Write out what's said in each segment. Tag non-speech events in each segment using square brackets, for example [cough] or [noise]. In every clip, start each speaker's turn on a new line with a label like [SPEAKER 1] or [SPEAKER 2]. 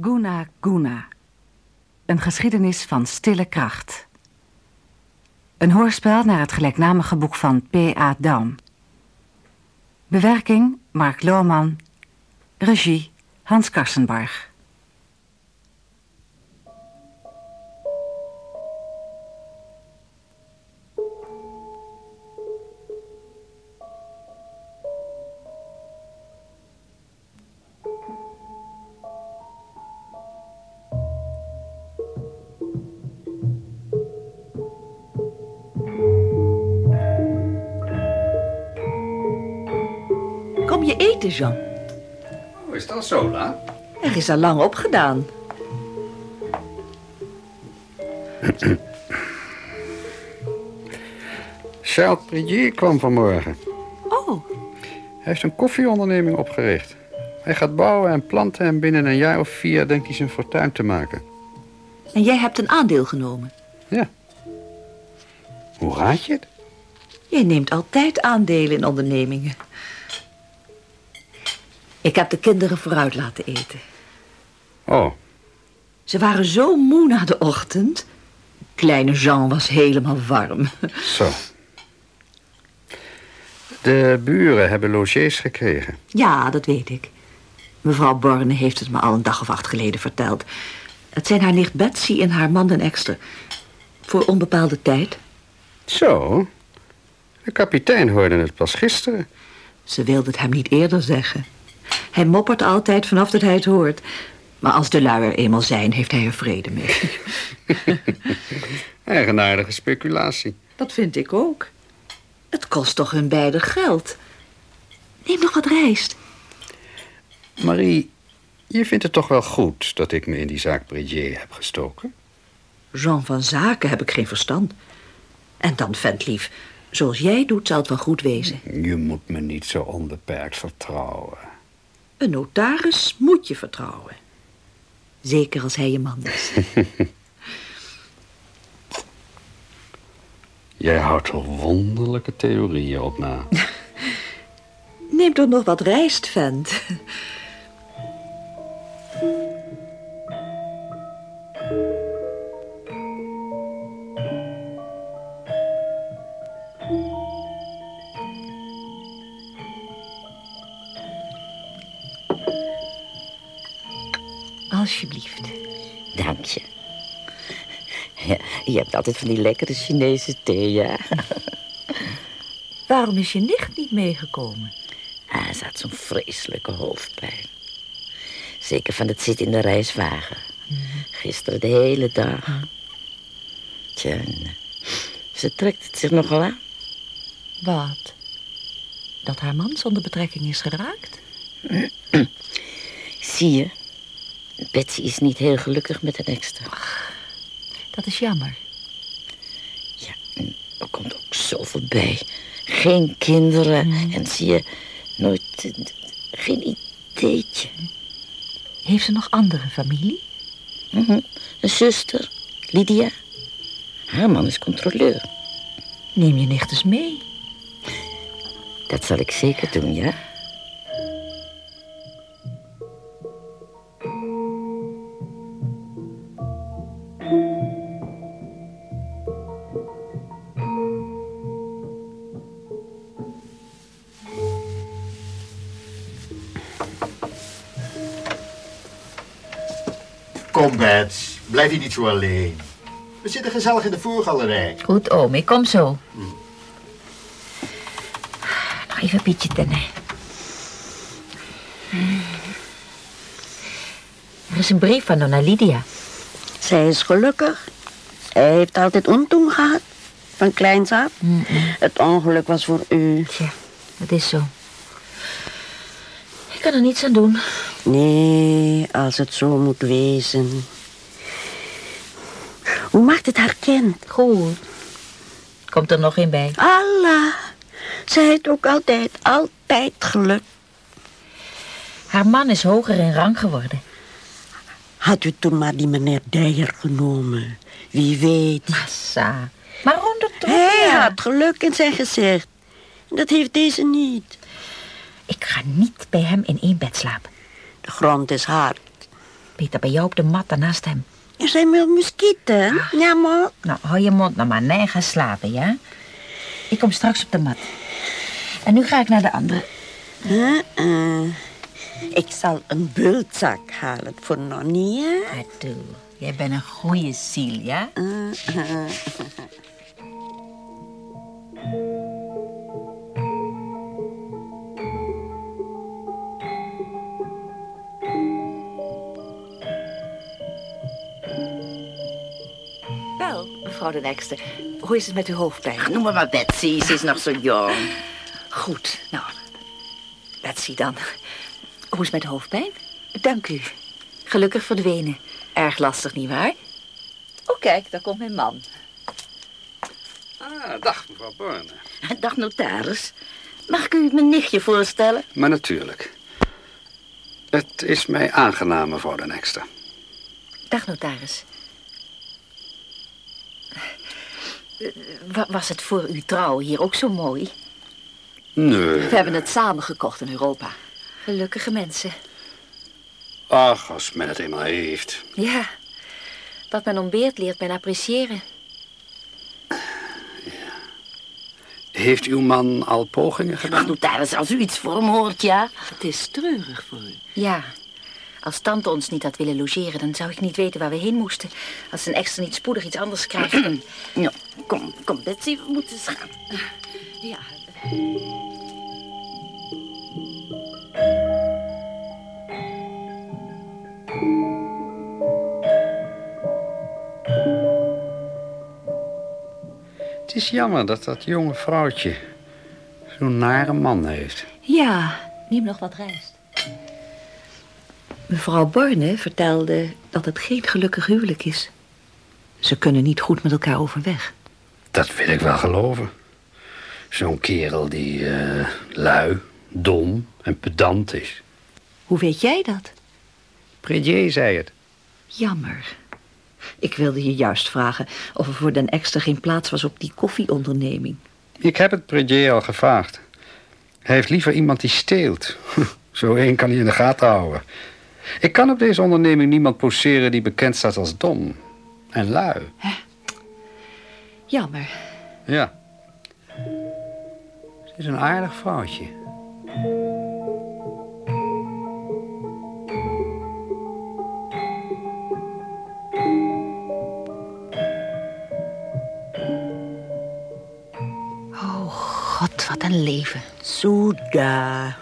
[SPEAKER 1] Guna Guna. Een geschiedenis van stille kracht. Een hoorspel naar het gelijknamige boek van P.A. Daum. Bewerking Mark Lohman. Regie Hans Karsenbarg.
[SPEAKER 2] Kom je eten, Jean?
[SPEAKER 3] Oh, is dat zo, La?
[SPEAKER 2] Er is al lang opgedaan.
[SPEAKER 3] Charles Prigier kwam vanmorgen.
[SPEAKER 2] Oh,
[SPEAKER 3] Hij heeft een koffieonderneming opgericht. Hij gaat bouwen en planten en binnen een jaar of vier denkt hij zijn fortuin te maken.
[SPEAKER 2] en jij hebt een aandeel genomen.
[SPEAKER 3] Ja. Hoe raad je het?
[SPEAKER 2] Jij neemt altijd aandelen in ondernemingen. Ik heb de kinderen vooruit laten eten.
[SPEAKER 3] Oh,
[SPEAKER 2] Ze waren zo moe na de ochtend. Kleine Jean was helemaal warm.
[SPEAKER 3] zo. De buren hebben logiers gekregen.
[SPEAKER 2] Ja, dat weet ik. Mevrouw Borne heeft het me al een dag of acht geleden verteld. Het zijn haar nicht Betsy en haar man en extra. Voor onbepaalde tijd.
[SPEAKER 3] Zo. De kapitein hoorde het pas gisteren.
[SPEAKER 2] Ze wilde het hem niet eerder zeggen. Hij moppert altijd vanaf dat hij het hoort. Maar als de lui er eenmaal zijn, heeft hij er vrede mee.
[SPEAKER 3] Eigenaardige speculatie.
[SPEAKER 2] [laughs] Dat vind ik ook. Het kost toch hun beide geld. Neem nog wat rijst.
[SPEAKER 3] Marie, je vindt het toch wel goed dat ik me in die zaak Brigier heb gestoken?
[SPEAKER 2] Jean van zaken heb ik geen verstand. En dan, ventlief, zoals jij doet zal het wel goed wezen.
[SPEAKER 3] Je moet me niet zo onbeperkt vertrouwen.
[SPEAKER 2] Een notaris moet je vertrouwen. Zeker als hij je man
[SPEAKER 3] [laughs]
[SPEAKER 2] is.
[SPEAKER 3] Jij houdt er wonderlijke theorieën op na.
[SPEAKER 2] Neem toch nog wat rijst, vent.
[SPEAKER 4] Alsjeblieft.
[SPEAKER 5] Dank je. Ja, je hebt altijd van die lekkere Chinese thee, ja?
[SPEAKER 4] Waarom is je nicht niet meegekomen?
[SPEAKER 5] Ah, ze had zo'n vreselijke hoofdpijn. Zeker van het zitten in de reiswagen. Gisteren de hele dag. Tja, en eh, ze trekt het zich nogal aan. [clears throat]
[SPEAKER 4] Wat? Dat haar man zonder betrekking is geraakt?
[SPEAKER 5] Zie je? Betsy is niet heel gelukkig met een extra.
[SPEAKER 4] Dat is jammer.
[SPEAKER 5] Ja, en er komt ook zoveel bij. Geen kinderen.
[SPEAKER 4] Hmm.
[SPEAKER 5] En zie je, nooit... eh, Geen ideetje.
[SPEAKER 4] Heeft ze nog andere familie?
[SPEAKER 5] Mhm. Een zuster, Lydia. Haar man is controleur.
[SPEAKER 4] Neem je nicht eens mee.
[SPEAKER 5] Dat zal ik zeker doen, ja?
[SPEAKER 6] Kom, Bets. Blijf hier niet zo alleen. We zitten gezellig in de voorgalerij.
[SPEAKER 4] Goed, oom, ik kom zo. Nog Nou, even Pietje tennen. Hmm. Er is een brief van Nonna Lydia.
[SPEAKER 7] Zij is gelukkig. Hij heeft altijd ontoen gehad. Van kleins af. Het ongeluk was voor u.
[SPEAKER 4] Tja, dat is zo. Ik kan er niets aan doen.
[SPEAKER 7] Nee, als het zo moet wezen. Hoe maakt het haar kind?
[SPEAKER 4] Goed. Komt er nog een bij?
[SPEAKER 7] Allah. Zij heeft ook altijd, altijd geluk.
[SPEAKER 4] Haar man is hoger in rang geworden.
[SPEAKER 7] Had u toen maar die meneer Deijer genomen. Wie weet.
[SPEAKER 4] Massa. Maar onder toch?
[SPEAKER 7] Hij had geluk in zijn gezicht. Dat heeft deze niet.
[SPEAKER 4] Ik ga niet bij hem in één bed slapen.
[SPEAKER 7] De grond is hard.
[SPEAKER 4] Pieter, bij jou op de mat daarnaast hem.
[SPEAKER 7] Er zijn wel muskieten. Ja, maar...
[SPEAKER 4] Nou, hou je mond nou maar. Nee, ga slapen, ja? Ik kom straks op de mat. En nu ga ik naar de andere.
[SPEAKER 7] Uh-uh. Ik zal een bultzak halen voor Nonnie. hè?
[SPEAKER 4] Ado, Ah, jij bent een goede ziel, ja?
[SPEAKER 7] Uh-uh.
[SPEAKER 2] Wel, mevrouw de Nekste, hoe is het met uw hoofdpijn?
[SPEAKER 5] Ach, noem me maar Betsy, ze is nog zo jong.
[SPEAKER 2] Goed, nou, Betsy dan. Hoe is het met de hoofdpijn? Dank u. Gelukkig verdwenen. Erg lastig, nietwaar? Oh, kijk, daar komt mijn man.
[SPEAKER 3] Ah, dag mevrouw Borne.
[SPEAKER 5] Dag notaris. Mag ik u mijn nichtje voorstellen?
[SPEAKER 3] Maar natuurlijk. Het is mij aangenaam, mevrouw de Nekster.
[SPEAKER 2] Dag, notaris. Was het voor uw trouw hier ook zo mooi?
[SPEAKER 3] Nee.
[SPEAKER 2] We hebben het samen gekocht in Europa. Gelukkige mensen.
[SPEAKER 3] Ach, als men het eenmaal heeft.
[SPEAKER 8] Ja, wat men ontbeert leert men appreciëren.
[SPEAKER 3] Heeft uw man al pogingen
[SPEAKER 5] Ach,
[SPEAKER 3] gedaan?
[SPEAKER 5] notaris, als u iets voor hem hoort, ja.
[SPEAKER 2] Het is treurig voor u.
[SPEAKER 8] Ja, als tante ons niet had willen logeren, dan zou ik niet weten waar we heen moesten. Als een extra niet spoedig iets anders krijgt.
[SPEAKER 5] [clears throat]
[SPEAKER 8] dan-
[SPEAKER 5] Nou, kom, kom Betsy, we moeten eens gaan.
[SPEAKER 2] Ja.
[SPEAKER 3] Het is jammer dat dat jonge vrouwtje zo'n nare man heeft.
[SPEAKER 2] Ja,
[SPEAKER 4] Neem nog wat rijst.
[SPEAKER 2] Mevrouw Borne vertelde dat het geen gelukkig huwelijk is. Ze kunnen niet goed met elkaar overweg.
[SPEAKER 3] Dat wil ik wel geloven. Zo'n kerel die eh, lui, dom en pedant is.
[SPEAKER 2] Hoe weet jij dat?
[SPEAKER 3] Predier zei het.
[SPEAKER 2] Jammer. Ik wilde je juist vragen of er voor den extra geen plaats was op die koffieonderneming.
[SPEAKER 3] Ik heb het Predier al gevraagd. Hij heeft liever iemand die steelt. [laughs] Zo één kan hij in de gaten houden. Ik kan op deze onderneming niemand poseren die bekend staat als dom en lui.
[SPEAKER 2] Jammer.
[SPEAKER 3] Ja. Ze is een aardig vrouwtje.
[SPEAKER 4] Oh, God, wat een leven.
[SPEAKER 7] Soeda.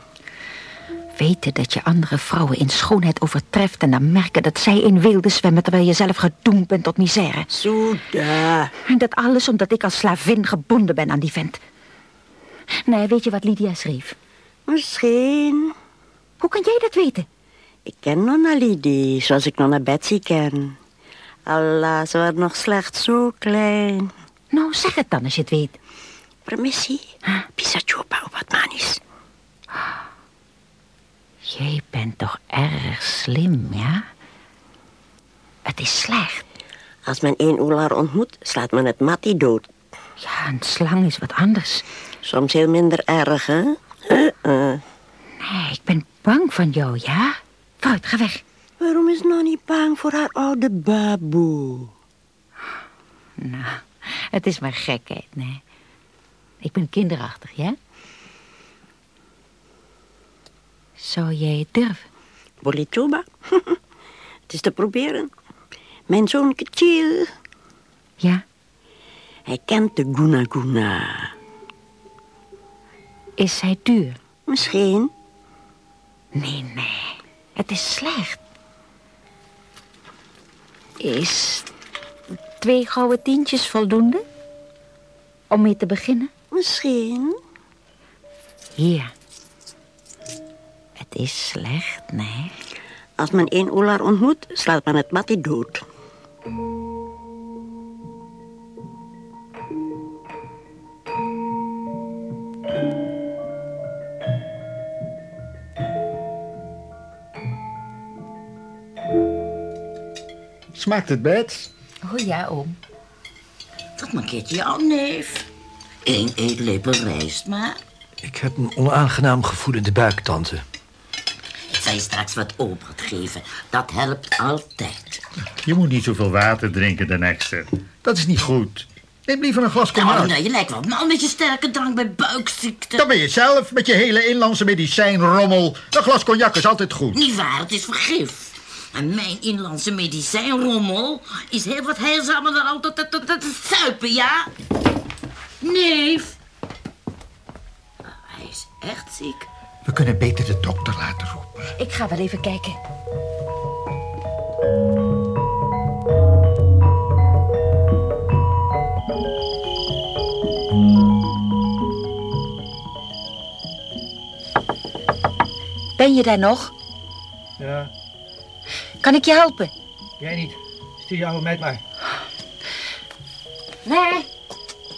[SPEAKER 4] Weten dat je andere vrouwen in schoonheid overtreft en dan merken dat zij in weelde zwemmen terwijl je zelf gedoemd bent tot misère.
[SPEAKER 7] Soeda.
[SPEAKER 4] En dat alles omdat ik als slavin gebonden ben aan die vent. Nee, weet je wat Lydia schreef?
[SPEAKER 7] Misschien.
[SPEAKER 4] Hoe kan jij dat weten?
[SPEAKER 7] Ik ken Nonna Lydie, zoals ik Nonna Betsy ken. Allah, ze wordt nog slechts zo klein.
[SPEAKER 4] Nou, zeg het dan als je het weet.
[SPEAKER 7] Permissie? Pisa chupa op wat manis.
[SPEAKER 4] Jij bent toch erg slim, ja? Het is slecht.
[SPEAKER 7] Als men één oelaar ontmoet, slaat men het mattie dood.
[SPEAKER 4] Ja, een slang is wat anders.
[SPEAKER 7] Soms heel minder erg, hè? Uh-uh.
[SPEAKER 4] Nee, Eh, ik ben bang van jou, ja? Vooruit, ga weg.
[SPEAKER 7] Waarom is Nonnie bang voor haar oude baboe?
[SPEAKER 4] Nou, het is maar gekheid, nee. Ik ben kinderachtig, ja? Zou jij het durven?
[SPEAKER 7] Bolichuba? [laughs] het is te proberen. Mijn zoon Kachil,
[SPEAKER 4] Ja?
[SPEAKER 7] hij kent de Guna Guna.
[SPEAKER 4] Is hij duur?
[SPEAKER 7] Misschien.
[SPEAKER 4] Nee, nee. Het is slecht. Is twee gouden tientjes voldoende? Om mee te beginnen?
[SPEAKER 7] Misschien.
[SPEAKER 4] Hier. Het is slecht, nee.
[SPEAKER 7] Als men één oelaar ontmoet, slaat men het mattie dood.
[SPEAKER 6] Smaakt het, Bets?
[SPEAKER 4] Oh ja, oom.
[SPEAKER 5] Tot een keertje jouw neef. Eén eetlepel rijst, maar
[SPEAKER 9] Ik heb een onaangenaam gevoel in de buik, tante.
[SPEAKER 5] het je straks wat op gaat geven. Dat helpt altijd.
[SPEAKER 6] Je moet niet zoveel water drinken de nächste. Dat is niet goed. Neem liever een glas
[SPEAKER 5] Nou,
[SPEAKER 6] cognac.
[SPEAKER 5] nou, je lijkt wel een man met je sterke drank bij buikziekte.
[SPEAKER 6] Dan ben je zelf met je hele inlandse medicijnrommel. Een glas cognac is altijd goed.
[SPEAKER 5] Niet waar, het is vergif. En mijn inlandse medicijnrommel is heel wat heilzamer dan altijd dat, dat, dat suipen, ja? Neef. Ah, Hij is echt ziek.
[SPEAKER 6] We kunnen beter de dokter laten roepen.
[SPEAKER 4] Ik ga wel even kijken. Ben je daar nog?
[SPEAKER 9] Ja,
[SPEAKER 4] Kan ik je helpen?
[SPEAKER 9] jij niet. Stuur je oude meid maar.
[SPEAKER 4] Nee.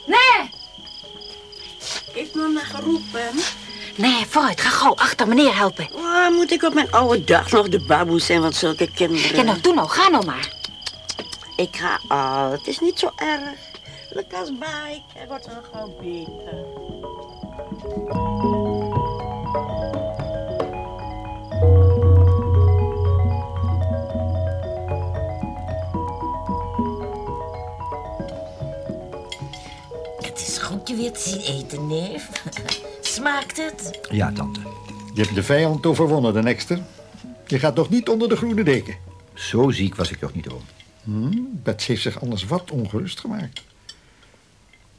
[SPEAKER 4] Nee.
[SPEAKER 7] Heeft mama geroepen?
[SPEAKER 4] Nee, vooruit. Ga gauw achter meneer helpen.
[SPEAKER 7] Waar moet ik op mijn oude dag nog de baboe zijn van zulke kinderen?
[SPEAKER 4] Ja, nou, doe nou. Ga nou maar.
[SPEAKER 7] Ik ga al. Het is niet zo erg. Lucas, bye. Hij wordt wel gauw beter.
[SPEAKER 5] Het is goed je weer te zien eten, neef. [laughs] Smaakt het?
[SPEAKER 6] Ja, tante. Je hebt de vijand overwonnen, de Nexter. Je gaat nog niet onder de groene deken. Zo ziek was ik nog niet, oom. Hmm, Bets heeft zich anders wat ongerust gemaakt.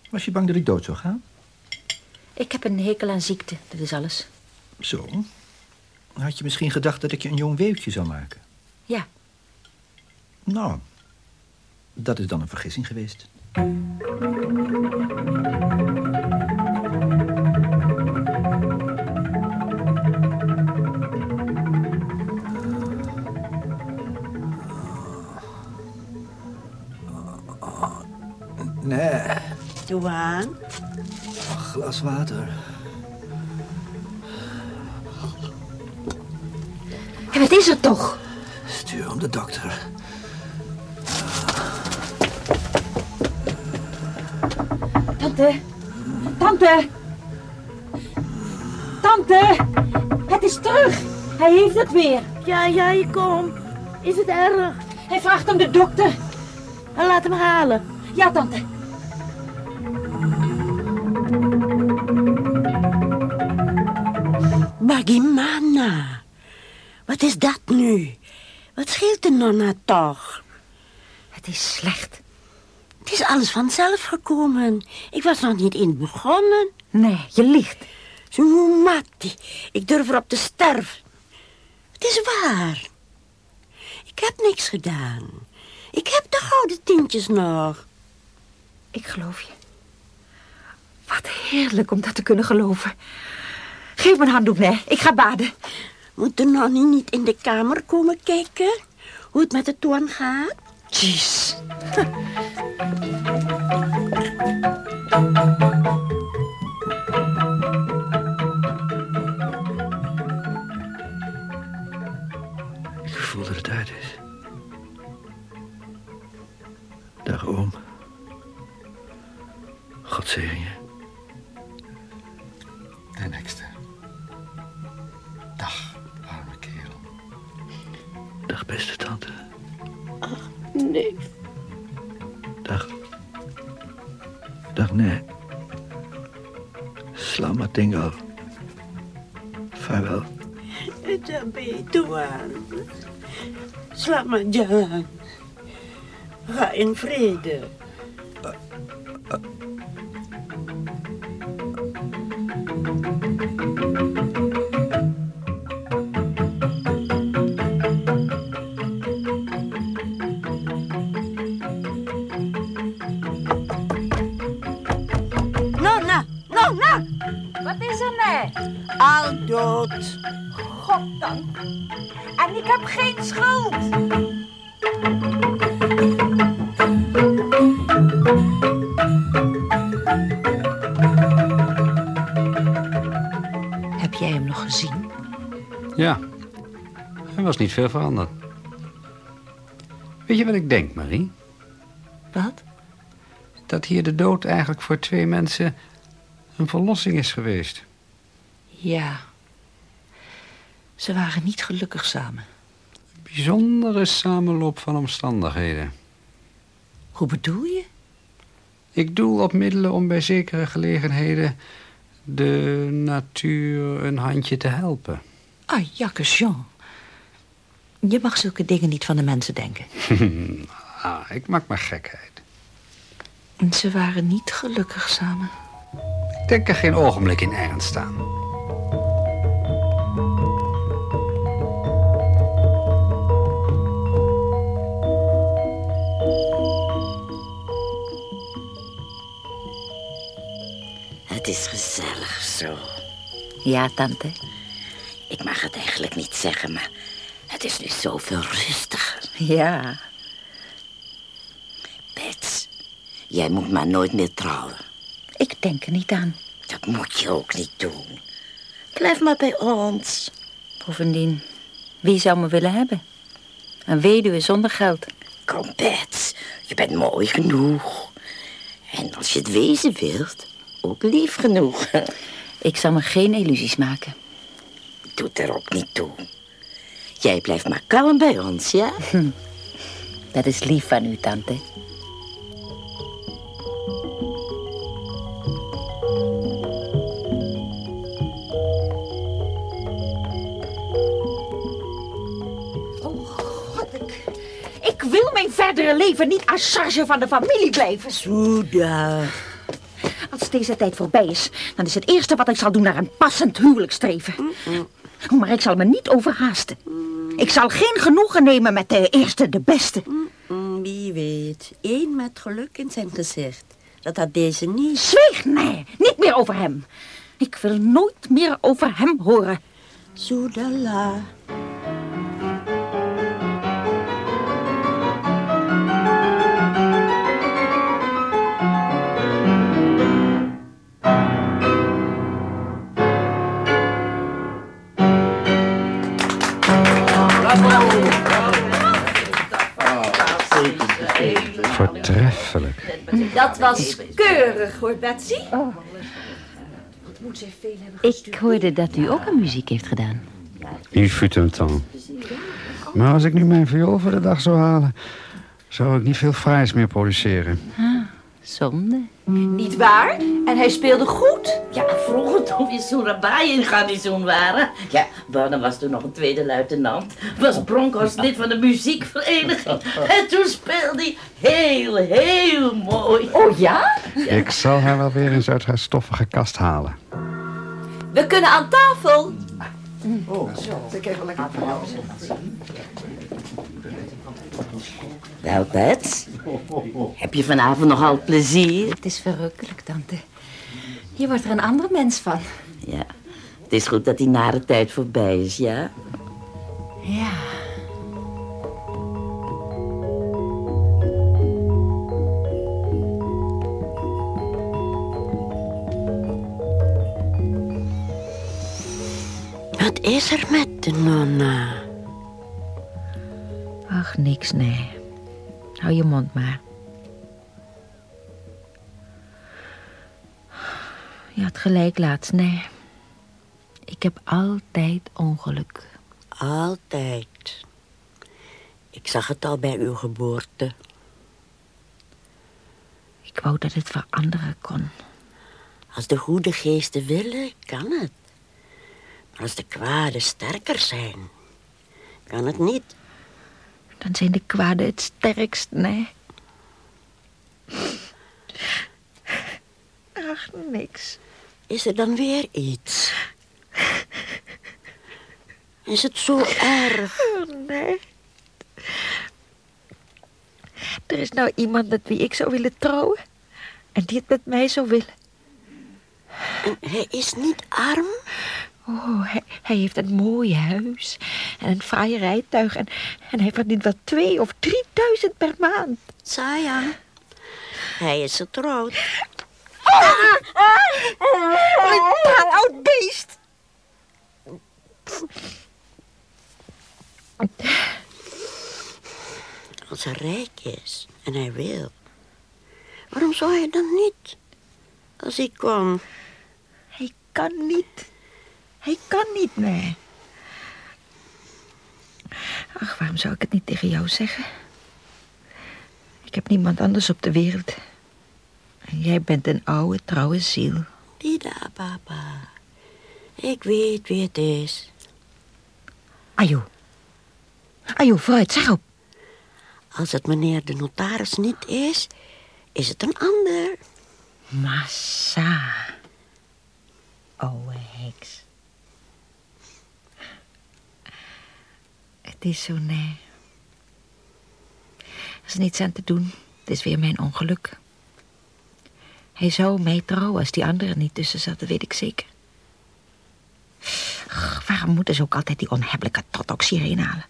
[SPEAKER 6] Was je bang dat ik dood zou gaan?
[SPEAKER 4] Ik heb een hekel aan ziekte. Dat is alles.
[SPEAKER 9] Zo. Had je misschien gedacht dat ik je een jong weeuwtje zou maken?
[SPEAKER 4] Ja.
[SPEAKER 9] Nou, dat is dan een vergissing geweest. Nee,
[SPEAKER 7] Doe aan.
[SPEAKER 9] glas water.
[SPEAKER 4] En wat is er toch?
[SPEAKER 9] Stuur om de dokter.
[SPEAKER 4] Tante. Tante. Tante. Het is terug. Hij heeft het weer.
[SPEAKER 10] Ja, ja, ik kom. Is het erg?
[SPEAKER 4] Hij vraagt om de dokter.
[SPEAKER 10] En laat hem halen.
[SPEAKER 4] Ja, tante.
[SPEAKER 7] Bagimana. Wat is dat nu? Wat scheelt de nonna toch?
[SPEAKER 4] Het is slecht.
[SPEAKER 7] Het is alles vanzelf gekomen. Ik was nog niet in begonnen.
[SPEAKER 4] Nee, je liegt.
[SPEAKER 7] Zo matti. Ik durf erop te sterven. Het is waar. Ik heb niks gedaan. Ik heb de gouden tientjes nog.
[SPEAKER 4] Ik geloof je. Wat heerlijk om dat te kunnen geloven. Geef me een handdoek, nee. Ik ga baden.
[SPEAKER 7] Moet de nonnie niet in de kamer komen kijken? Hoe het met de toon gaat?
[SPEAKER 4] Jeez.
[SPEAKER 9] Ik voel dat het uit is. Dag, oom. God zegen je.
[SPEAKER 3] De Nexter. Dag, arme kerel.
[SPEAKER 9] Dag, beste tante.
[SPEAKER 10] Nee.
[SPEAKER 9] Dag. Dag, nee. Slamma tingal. Vaarwel.
[SPEAKER 7] Daar ben je toe aan. Slaap maar, Jan. Ga in vrede. Nonna, Nonna,
[SPEAKER 4] Wat is er, nee?
[SPEAKER 7] al dood.
[SPEAKER 4] Goddank. En ik heb geen schuld.
[SPEAKER 11] Ah,
[SPEAKER 2] Heb jij hem nog gezien?
[SPEAKER 3] Ja, er was niet veel veranderd. Weet je wat ik denk, Marie?
[SPEAKER 2] Wat?
[SPEAKER 3] Dat hier de dood eigenlijk voor twee mensen een verlossing is geweest.
[SPEAKER 2] Ja.
[SPEAKER 12] Ze waren niet gelukkig samen.
[SPEAKER 3] Bijzondere samenloop van omstandigheden.
[SPEAKER 12] Hoe bedoel je?
[SPEAKER 3] Ik doel op middelen om bij zekere gelegenheden de natuur een handje te [laughs] helpen.
[SPEAKER 12] Ah, jakkes, Jean. Je mag zulke dingen niet van de mensen denken.
[SPEAKER 3] ah, ik maak maar gekheid.
[SPEAKER 12] Ze waren niet gelukkig samen.
[SPEAKER 3] Ik denk er geen ogenblik in ernst aan.
[SPEAKER 5] Het is gezellig zo.
[SPEAKER 13] Ja, tante.
[SPEAKER 5] Ik mag het eigenlijk niet zeggen, maar het is nu zoveel rustiger.
[SPEAKER 13] Ja.
[SPEAKER 5] Bets, jij moet maar nooit meer trouwen.
[SPEAKER 13] Ik denk er niet aan.
[SPEAKER 5] Dat moet je ook niet doen. Blijf maar bij ons.
[SPEAKER 13] Bovendien, wie zou me willen hebben? Een weduwe zonder geld.
[SPEAKER 5] Kom, Bets, je bent mooi genoeg. En als je het wezen wilt, ook lief genoeg.
[SPEAKER 13] [laughs] Ik zal me geen illusies maken.
[SPEAKER 5] Doet er ook niet toe. Jij blijft maar kalm bij ons, ja?
[SPEAKER 13] Hm. Dat is lief van u, tante.
[SPEAKER 14] Ik wil mijn verdere leven niet aan charge van de familie blijven.
[SPEAKER 7] Soeda.
[SPEAKER 14] Als deze tijd voorbij is, dan is het eerste wat ik zal doen naar een passend huwelijk streven.
[SPEAKER 7] Mm,
[SPEAKER 14] Maar ik zal me niet overhaasten. Ik zal geen genoegen nemen met de eerste, de beste.
[SPEAKER 7] Mm, Wie weet, één met geluk in zijn gezicht. Dat had deze niet.
[SPEAKER 14] Zweeg, nee, niet meer over hem. Ik wil nooit meer over hem horen.
[SPEAKER 7] Soedala.
[SPEAKER 3] Voortreffelijk.
[SPEAKER 2] Dat was keurig hoor, Betsy.
[SPEAKER 12] Oh.
[SPEAKER 13] Ik hoorde dat u ook een muziek heeft gedaan.
[SPEAKER 3] Il fut un temps. Maar als ik nu mijn viool voor de dag zou halen... zou ik niet veel fraais meer produceren.
[SPEAKER 13] Ah, zonde.
[SPEAKER 2] Niet waar? En hij speelde goed.
[SPEAKER 5] Ja, vroeger toen we in Surabaya in garnizoen waren. Ja, Barnum was toen nog een tweede luitenant. Was Bronkhorst lid van de muziekvereniging. En toen speelde hij heel, heel mooi.
[SPEAKER 2] Oh ja?
[SPEAKER 3] Ik zal haar wel weer eens uit haar stoffige kast halen.
[SPEAKER 2] We kunnen aan tafel.
[SPEAKER 6] Oh, zo. Ik even lekker
[SPEAKER 5] Wel, Bets. Heb je vanavond nogal plezier?
[SPEAKER 14] Het is verrukkelijk, tante. Hier wordt er een ander mens van.
[SPEAKER 5] Ja, het is goed dat die nare tijd voorbij is, ja?
[SPEAKER 14] Ja.
[SPEAKER 7] Wat is er met de nonna?
[SPEAKER 4] Ach, niks, nee. Hou je mond maar. Je had gelijk laatst, nee. Ik heb altijd ongeluk.
[SPEAKER 7] Altijd. Ik zag het al bij uw geboorte.
[SPEAKER 4] Ik wou dat het veranderen kon.
[SPEAKER 7] Als de goede geesten willen, kan het. Maar als de kwade sterker zijn, kan het niet.
[SPEAKER 4] Dan zijn de kwaden het sterkst, nee. Ach, niks.
[SPEAKER 7] Is er dan weer iets? Is het zo erg?
[SPEAKER 4] Oh, nee. Er is nou iemand met wie ik zou willen trouwen. En die het met mij zou willen.
[SPEAKER 7] En hij is niet arm?
[SPEAKER 4] Oh, hij, hij heeft een mooi huis en een fraai rijtuig. En, en hij verdient wel twee of drieduizend per maand.
[SPEAKER 7] Sayang. Hij is getrouwd.
[SPEAKER 4] Ah, Brutaal oud beest.
[SPEAKER 7] Als hij rijk is en hij wil. Waarom zou hij dan niet? Als ik kwam.
[SPEAKER 4] Hij kan niet. Hij kan niet, nee. Ach, waarom zou ik het niet tegen jou zeggen? Ik heb niemand anders op de wereld. En jij bent een oude, trouwe ziel.
[SPEAKER 7] Dida, papa. Ik weet wie het is.
[SPEAKER 4] Ajo. Ajo, vooruit, zeg op.
[SPEAKER 7] Als het meneer de notaris niet is, is het een ander.
[SPEAKER 4] Massa. Oude heks. Het is zo, nee. Er is niets aan te doen. Het is weer mijn ongeluk. Hij zou mij trouwen als die andere niet tussen zat, dat weet ik zeker. Ach, waarom moeten ze ook altijd die onhebbelijke totox hierheen halen?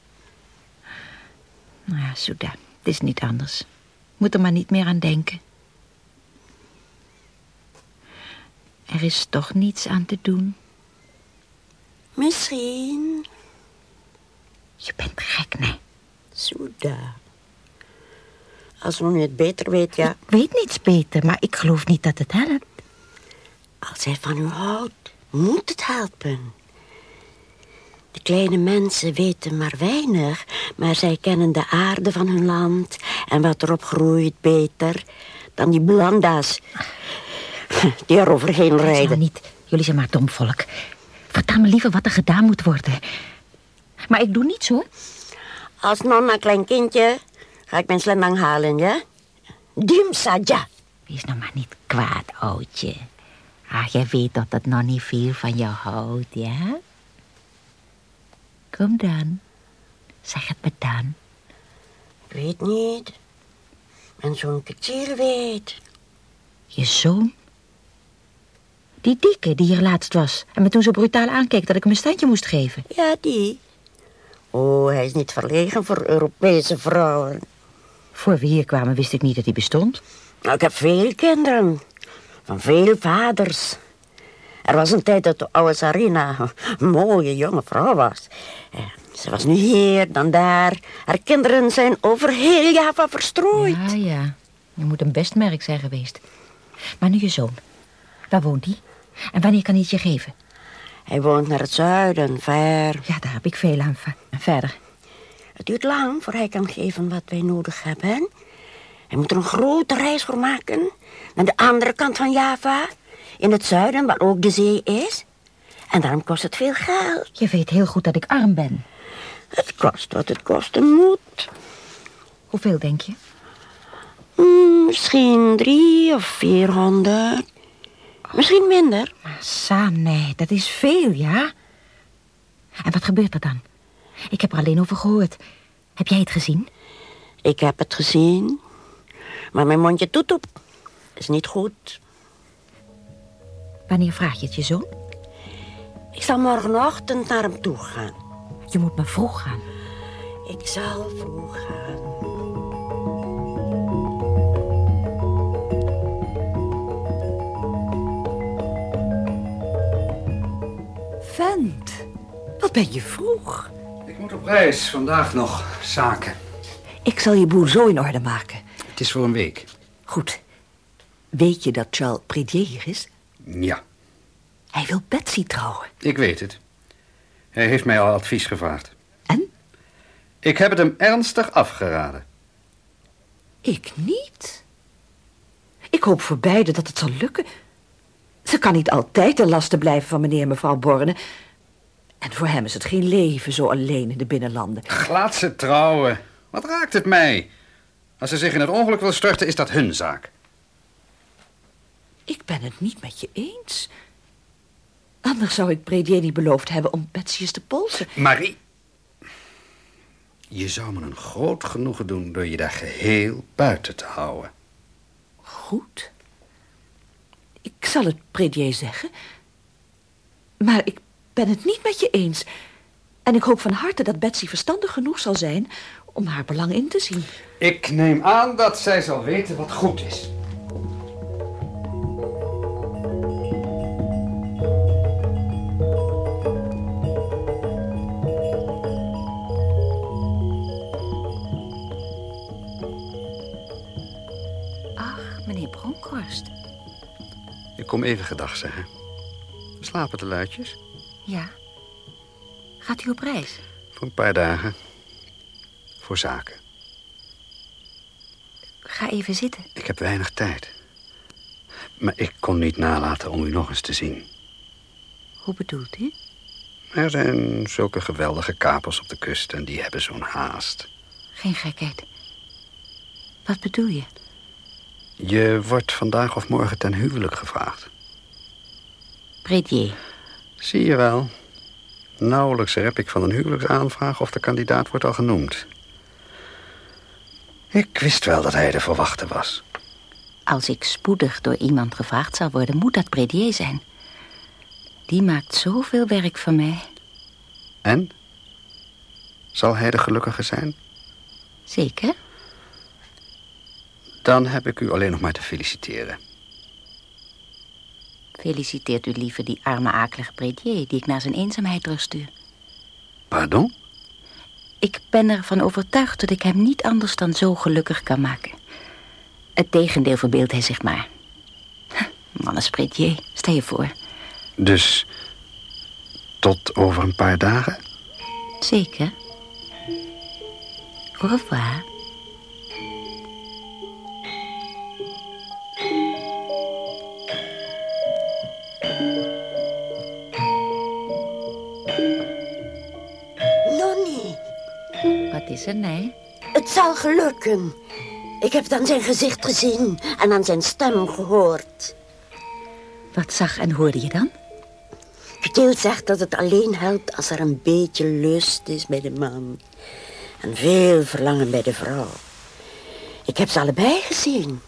[SPEAKER 4] Nou ja, Souda, het is niet anders. Moet er maar niet meer aan denken. Er is toch niets aan te doen.
[SPEAKER 7] Misschien.
[SPEAKER 4] Je bent gek, nee.
[SPEAKER 7] Soeda. Als we het beter weet, ja.
[SPEAKER 4] Ik weet niets beter, maar ik geloof niet dat het helpt.
[SPEAKER 7] Als hij van u houdt, moet het helpen. De kleine mensen weten maar weinig, maar zij kennen de aarde van hun land en wat erop groeit beter dan die blanda's die er overheen
[SPEAKER 4] Zeg maar
[SPEAKER 7] rijden.
[SPEAKER 4] niet. Jullie zijn maar dom volk. Vertel me liever wat er gedaan moet worden. Maar ik doe niets hoor.
[SPEAKER 7] Als nonna klein kindje ga ik mijn slendang halen, ja? Dimsa, ja.
[SPEAKER 4] Wees nou maar niet kwaad, oudje. Ah, jij weet dat het nog niet veel van jou houdt, ja? Kom dan. Zeg het me dan.
[SPEAKER 7] Ik weet niet. Mijn zoon Kachir weet.
[SPEAKER 4] Je zoon? Die dikke die hier laatst was en me toen zo brutaal aankeek dat ik hem een standje moest geven.
[SPEAKER 7] Ja, die. Oh, hij is niet verlegen voor Europese vrouwen.
[SPEAKER 4] Voor we hier kwamen wist ik niet dat hij bestond.
[SPEAKER 7] Nou, ik heb veel kinderen. Van veel vaders. Er was een tijd dat de oude Sarina een mooie jonge vrouw was. Eh, Ze was nu hier, dan daar. Haar kinderen zijn over heel Java verstrooid.
[SPEAKER 4] Ah ja, je moet een best merk zijn geweest. Maar nu je zoon, waar woont die? En wanneer kan hij het je geven?
[SPEAKER 7] Hij woont naar het zuiden, ver.
[SPEAKER 4] Ja, daar heb ik veel aan. va- En verder.
[SPEAKER 7] Het duurt lang voor hij kan geven wat wij nodig hebben. Hij moet er een grote reis voor maken. Naar de andere kant van Java. In het zuiden, waar ook de zee is. En daarom kost het veel geld.
[SPEAKER 4] Je weet heel goed dat ik arm ben.
[SPEAKER 7] Het kost wat het kosten moet.
[SPEAKER 4] Hoeveel denk je?
[SPEAKER 7] Hmm, misschien drie of vierhonderd.
[SPEAKER 4] Oh.
[SPEAKER 7] Misschien minder.
[SPEAKER 4] Sa, nee, dat is veel, ja? En wat gebeurt er dan? Ik heb er alleen over gehoord. Heb jij het gezien?
[SPEAKER 7] Ik heb het gezien. Maar mijn mondje doet op. Is niet goed.
[SPEAKER 4] Wanneer vraag je het je zoon?
[SPEAKER 7] Ik zal morgenochtend naar hem toe gaan.
[SPEAKER 4] Je moet maar vroeg gaan.
[SPEAKER 7] Ik zal vroeg gaan.
[SPEAKER 15] Vent, wat ben je vroeg?
[SPEAKER 3] Ik moet op reis, vandaag nog. Zaken.
[SPEAKER 2] Ik zal je boel zo in orde maken.
[SPEAKER 3] Het is voor een week.
[SPEAKER 2] Goed. Weet je dat Charles Predier hier is?
[SPEAKER 3] Ja,
[SPEAKER 2] Hij wil Betsy trouwen.
[SPEAKER 3] ik weet het. Hij heeft mij al advies gevraagd. En? Ik heb het hem ernstig afgeraden.
[SPEAKER 2] Ik niet. Ik hoop voor beiden dat het zal lukken. Ze kan niet altijd de lasten blijven van meneer en mevrouw Borne. En voor hem is het geen leven zo alleen in de binnenlanden.
[SPEAKER 3] Laat ze trouwen. Wat raakt het mij? Als ze zich in het ongeluk wil storten, is dat hun zaak.
[SPEAKER 2] Ik ben het niet met je eens. Anders zou ik Predier niet beloofd hebben om Betsy eens te polsen.
[SPEAKER 3] Marie, je zou me een groot genoegen doen door je daar geheel buiten te houden.
[SPEAKER 2] Goed. Ik zal het Predier zeggen. Maar ik ben het niet met je eens. En ik hoop van harte dat Betsy verstandig genoeg zal zijn om haar belang in te zien.
[SPEAKER 3] Ik neem aan dat zij zal weten wat goed is.
[SPEAKER 4] Ach, meneer Bronkhorst.
[SPEAKER 3] Ik kom even gedag zeggen. Slapen de luidjes?
[SPEAKER 4] Ja. Gaat u op reis?
[SPEAKER 3] Voor een paar dagen. voor zaken.
[SPEAKER 4] Ga even zitten.
[SPEAKER 3] Ik heb weinig tijd. Maar ik kon niet nalaten om u nog eens te zien.
[SPEAKER 4] Hoe bedoelt u?
[SPEAKER 3] Er zijn zulke geweldige kapers op de kust en die hebben zo'n haast.
[SPEAKER 4] Geen gekheid. Wat bedoel je?
[SPEAKER 3] Je wordt vandaag of morgen ten huwelijk gevraagd.
[SPEAKER 4] Predier.
[SPEAKER 3] Zie je wel. Nauwelijks heb ik van een huwelijksaanvraag of de kandidaat wordt al genoemd. Ik wist wel dat hij de verwachte was.
[SPEAKER 4] Als ik spoedig door iemand gevraagd zal worden, moet dat Predier zijn. Die maakt zoveel werk van mij.
[SPEAKER 3] En? Zal hij de gelukkige zijn?
[SPEAKER 4] Zeker?
[SPEAKER 3] Dan heb ik u alleen nog maar te feliciteren.
[SPEAKER 4] Feliciteert u liever die arme akelige Predier die ik naar zijn eenzaamheid terugstuur.
[SPEAKER 3] Pardon?
[SPEAKER 4] Ik ben ervan overtuigd dat ik hem niet anders dan zo gelukkig kan maken. Het tegendeel verbeeldt hij zich maar. Huh, Man is Predier, stel je voor.
[SPEAKER 3] Dus tot over een paar dagen?
[SPEAKER 4] Zeker. Au revoir.
[SPEAKER 7] Nonnie,
[SPEAKER 4] Wat is er, nee?
[SPEAKER 7] het zal gelukken. Ik heb het aan zijn gezicht gezien en aan zijn stem gehoord.
[SPEAKER 4] Wat zag en hoorde je dan?
[SPEAKER 7] Katiel zegt dat het alleen helpt als er een beetje lust is bij de man. En veel verlangen bij de vrouw. Ik heb ze allebei gezien.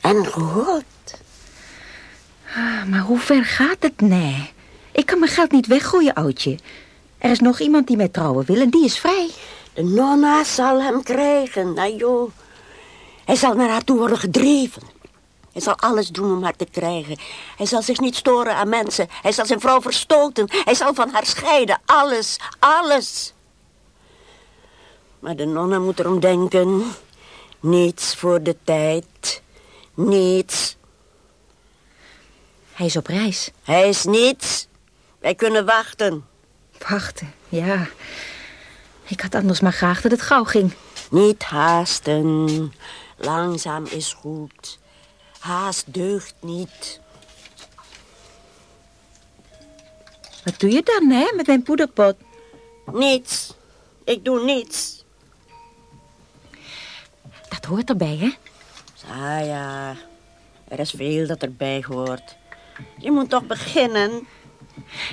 [SPEAKER 7] En gehoord.
[SPEAKER 4] Ah, maar hoe ver gaat het, nee? Ik kan mijn geld niet weggooien, oudje. Er is nog iemand die mij trouwen wil en die is vrij.
[SPEAKER 7] De nonna zal hem krijgen, nou joh. Hij zal naar haar toe worden gedreven. Hij zal alles doen om haar te krijgen. Hij zal zich niet storen aan mensen. Hij zal zijn vrouw verstoten. Hij zal van haar scheiden. Alles, alles. Maar de nonna moet erom denken. Niets voor de tijd. Niets.
[SPEAKER 4] Hij is op reis.
[SPEAKER 7] Hij is niets. Wij kunnen wachten.
[SPEAKER 4] Wachten, ja. Ik had anders maar graag dat het gauw ging.
[SPEAKER 7] Niet haasten. Langzaam is goed. Haast deugt niet.
[SPEAKER 4] Wat doe je dan, hè, met mijn poederpot?
[SPEAKER 7] Niets. Ik doe niets.
[SPEAKER 4] Dat hoort erbij, hè?
[SPEAKER 7] Ah ja, er is veel dat erbij hoort. Je moet toch beginnen.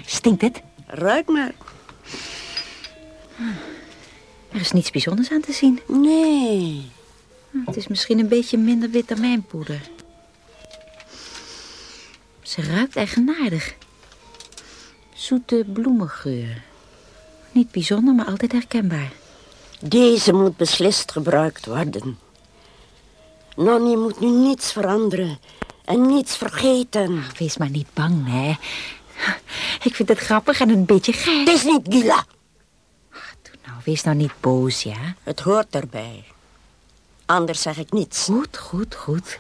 [SPEAKER 4] Stinkt het?
[SPEAKER 7] Ruik maar.
[SPEAKER 4] Er is niets bijzonders aan te zien. Hm,
[SPEAKER 7] Nee.
[SPEAKER 4] Het is misschien een beetje minder wit dan mijn poeder. Ze ruikt eigenaardig. Zoete bloemengeur. Niet bijzonder, maar altijd herkenbaar.
[SPEAKER 7] Deze moet beslist gebruikt worden. Nonnie moet nu niets veranderen en niets vergeten.
[SPEAKER 4] Wees maar niet bang, hè. Ik vind het grappig en een beetje gek.
[SPEAKER 7] Het is niet Gila.
[SPEAKER 4] Nou, wees nou niet boos, ja?
[SPEAKER 7] Het hoort erbij. Anders zeg ik niets.
[SPEAKER 4] Goed, goed, goed.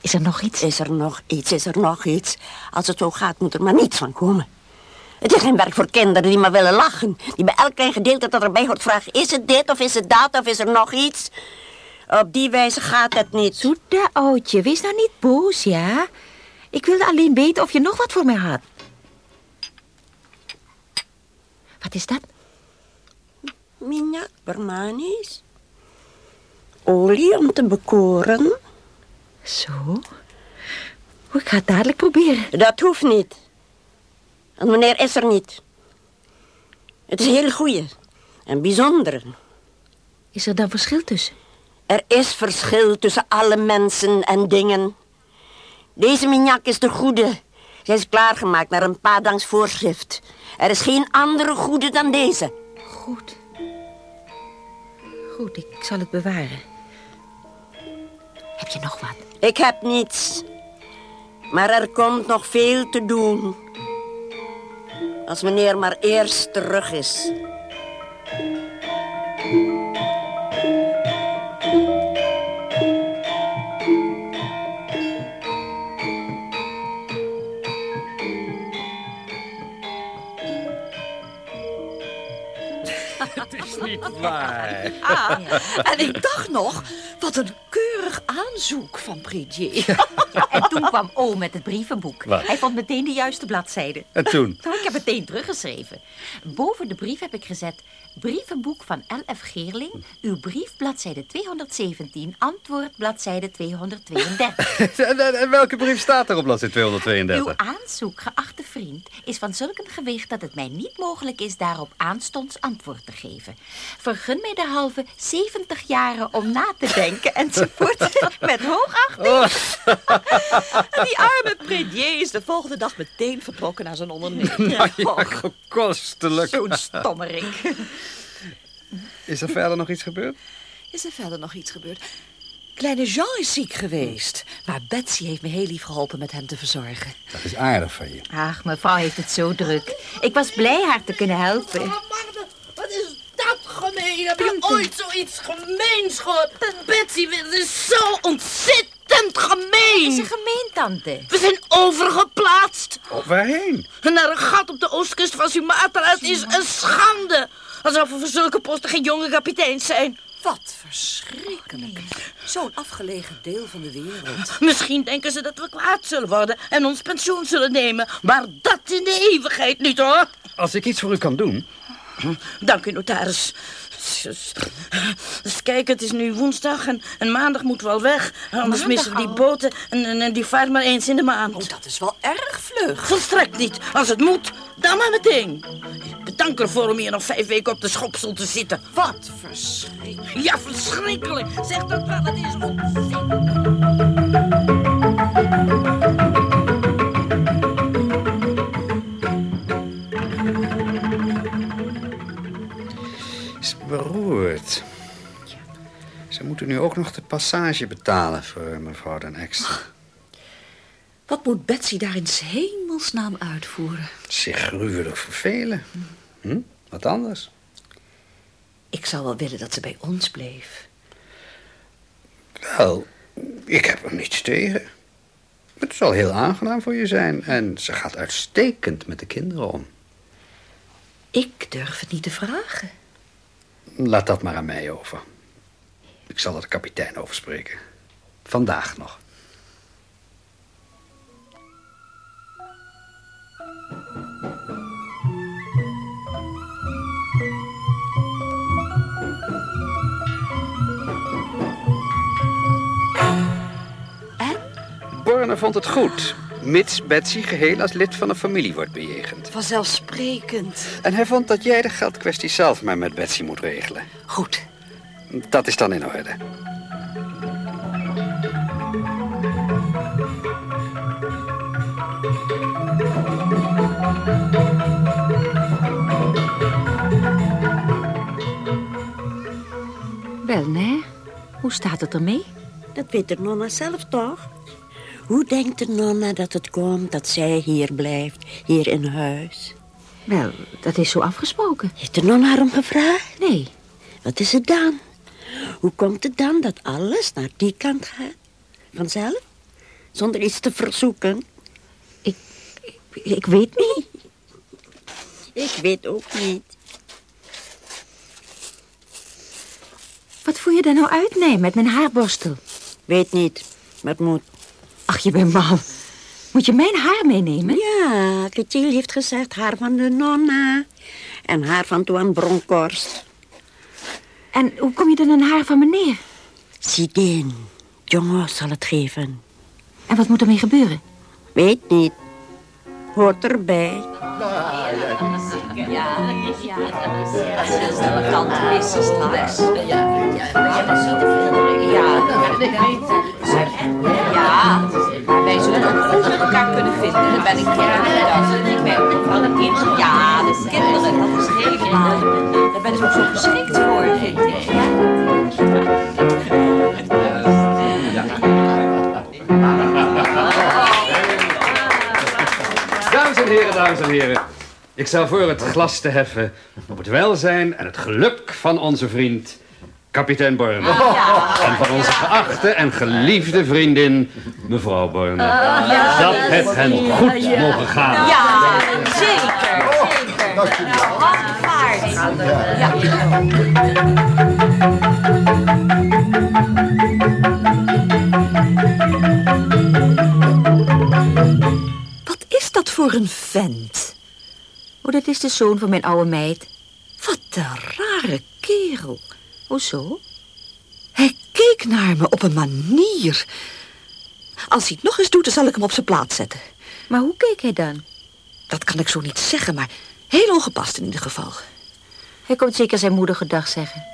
[SPEAKER 4] Is er nog iets?
[SPEAKER 7] Is er nog iets, is er nog iets. Als het zo gaat, moet er maar niets van komen. Het is geen werk voor kinderen die maar willen lachen. Die bij elk klein gedeelte dat erbij hoort vragen... is het dit of is het dat of is er nog iets? Op die wijze gaat het niet.
[SPEAKER 4] Zoete oudje, wees nou niet boos, ja? Ik wilde alleen weten of je nog wat voor mij had. Wat is dat?
[SPEAKER 7] Minyak Bermanis. Olie om te bekoren.
[SPEAKER 4] Zo? Oh, Ik ga het dadelijk proberen.
[SPEAKER 7] Dat hoeft niet. Want meneer is er niet. Het is heel goeie en bijzondere.
[SPEAKER 4] Is er dan verschil tussen?
[SPEAKER 7] Er is verschil tussen alle mensen en dingen. Deze minyak is de goede. Zij is klaargemaakt naar een padangs voorschrift. Er is geen andere goede dan deze.
[SPEAKER 4] Goed. Goed, ik zal het bewaren. Heb je nog wat?
[SPEAKER 7] Ik heb niets. Maar er komt nog veel te doen. Als meneer maar eerst terug is.
[SPEAKER 3] Het is niet waar.
[SPEAKER 2] Ah, en ik dacht nog, wat een keurig aanzoek van Predier.
[SPEAKER 4] [laughs] En toen kwam O met het brievenboek.
[SPEAKER 3] Wat?
[SPEAKER 4] Hij vond meteen de juiste bladzijde.
[SPEAKER 3] En
[SPEAKER 4] [laughs]
[SPEAKER 3] toen?
[SPEAKER 4] Nou, ik heb meteen teruggeschreven. Boven de brief heb ik gezet... Brievenboek van L.F. Geerling. Uw brief, bladzijde 217. Antwoord, bladzijde 232.
[SPEAKER 3] [laughs] En, en- en welke brief staat er op bladzijde
[SPEAKER 4] Uw
[SPEAKER 3] 232?
[SPEAKER 4] aanzoek, geachte vriend, is van zulk een gewicht... dat het mij niet mogelijk is daarop aanstonds antwoord te geven. Vergun mij de halve 70 jaren om na te denken enzovoort. [laughs] Met hoogachting.
[SPEAKER 2] En [laughs] die arme Predier is de volgende dag meteen vertrokken naar zijn onderneming.
[SPEAKER 3] Nou [laughs] ja, kostelijk.
[SPEAKER 2] Zo'n stommerik.
[SPEAKER 3] Is er verder nog iets gebeurd?
[SPEAKER 2] Is er verder nog iets gebeurd? Kleine Jean is ziek geweest. Maar Betsy heeft me heel lief geholpen met hem te verzorgen.
[SPEAKER 3] Dat is aardig van je.
[SPEAKER 4] Ach, mevrouw heeft het zo druk. Ik was blij haar te kunnen helpen.
[SPEAKER 5] Wat is dat gemeen? Heb je ooit zoiets gemeens gehoord? Betsy, dit is zo ontzettend gemeen. Is ze
[SPEAKER 4] gemeen, tante?
[SPEAKER 5] We zijn overgeplaatst.
[SPEAKER 3] Oh, waarheen?
[SPEAKER 5] Naar een gat op de oostkust van Sumatra. Het is een schande. Alsof we voor zulke posten geen jonge kapiteins zijn.
[SPEAKER 2] Wat verschrikkelijk. Zo'n afgelegen deel van de wereld.
[SPEAKER 5] Misschien denken ze dat we kwaad zullen worden en ons pensioen zullen nemen. Maar dat in de eeuwigheid niet, hoor.
[SPEAKER 3] Als ik iets voor u kan doen.
[SPEAKER 5] Dank u, notaris. Zus. Dus kijk, het is nu woensdag en, en maandag moeten we al weg. Anders
[SPEAKER 2] Maandag
[SPEAKER 5] missen we die
[SPEAKER 2] al?
[SPEAKER 5] boten en, en, en die vaart maar eens in de maand. Oh,
[SPEAKER 2] dat is wel erg vlug.
[SPEAKER 5] Volstrekt niet. Als het moet, dan maar meteen. Ik bedank ervoor om hier nog vijf weken op de schopsel te zitten.
[SPEAKER 2] Wat verschrikkelijk.
[SPEAKER 5] Ja, verschrikkelijk. Zeg dat wel, het is ontzettend.
[SPEAKER 3] Is beroerd. Ze moeten nu ook nog de passage betalen voor eh, mevrouw Den Ekster.
[SPEAKER 2] Wat moet Betsy daar in 's hemelsnaam uitvoeren?
[SPEAKER 3] Zich gruwelijk vervelen. Hm? Wat anders?
[SPEAKER 2] Ik zou wel willen dat ze bij ons bleef.
[SPEAKER 3] Wel, ik heb er niets tegen. Het zal heel aangenaam voor je zijn. En ze gaat uitstekend met de kinderen om.
[SPEAKER 2] Ik durf het niet te vragen.
[SPEAKER 3] Laat dat maar aan mij over. Ik zal er de kapitein over spreken. Vandaag nog. En? Borne vond het goed, mits Betsy geheel als lid van de familie wordt bejegend.
[SPEAKER 2] Vanzelfsprekend.
[SPEAKER 3] En hij vond dat jij de geldkwestie zelf maar met Betsy moet regelen.
[SPEAKER 2] Goed.
[SPEAKER 3] Dat is dan in orde.
[SPEAKER 16] Wel, nee. Hoe staat het ermee?
[SPEAKER 7] Dat weet de nonna zelf toch? Hoe denkt de nonna dat het komt dat zij hier blijft, hier in huis?
[SPEAKER 16] Wel, dat is zo afgesproken.
[SPEAKER 7] Heeft de nonna haar om gevraagd?
[SPEAKER 16] Nee.
[SPEAKER 7] Wat is het dan? Hoe komt het dan dat alles naar die kant gaat? Vanzelf? Zonder iets te verzoeken?
[SPEAKER 16] Ik, ik, weet niet.
[SPEAKER 7] Ik weet ook niet.
[SPEAKER 16] Wat voer je daar nou uit, nee, met mijn haarborstel?
[SPEAKER 7] Weet niet, maar het moet.
[SPEAKER 16] Ach, je bent mal. Moet je mijn haar meenemen?
[SPEAKER 7] Ja, Clotilde heeft gezegd haar van de nonna. En haar van Toan Bronkhorst.
[SPEAKER 16] En hoe kom je dan aan haar van meneer?
[SPEAKER 7] Sidin. Jongen zal het geven.
[SPEAKER 16] En wat moet ermee gebeuren?
[SPEAKER 7] Weet niet. Hoort erbij.
[SPEAKER 4] Ja, maar wij zullen ook goed met elkaar kunnen vinden. Dan ben ik graag dat. Ik ben ook van de kinderen. Ja, de kinderen, dat is helemaal. Daar ben ik ook zo geschikt voor, vind ik.
[SPEAKER 3] Dames en heren, dames en heren. Ik stel voor het glas te heffen op het welzijn en het geluk van onze vriend kapitein Borne. En van onze geachte en geliefde vriendin mevrouw Borne.
[SPEAKER 5] ja,
[SPEAKER 3] Dat
[SPEAKER 5] ja,
[SPEAKER 3] het hen
[SPEAKER 5] ja,
[SPEAKER 3] goed
[SPEAKER 5] ja.
[SPEAKER 3] mogen gaan.
[SPEAKER 5] Ja,
[SPEAKER 4] zeker, zeker. Nou, wat waard.
[SPEAKER 2] Wat is dat voor een vent?
[SPEAKER 4] Oh, dat is de zoon van mijn oude meid.
[SPEAKER 2] Wat een rare kerel.
[SPEAKER 4] Hoezo?
[SPEAKER 2] Hij keek naar me op een manier. Als hij het nog eens doet, dan zal ik hem op zijn plaats zetten.
[SPEAKER 4] Maar hoe keek hij dan?
[SPEAKER 2] Dat kan ik zo niet zeggen, maar heel ongepast in ieder geval.
[SPEAKER 4] Hij komt zeker zijn moeder gedag zeggen.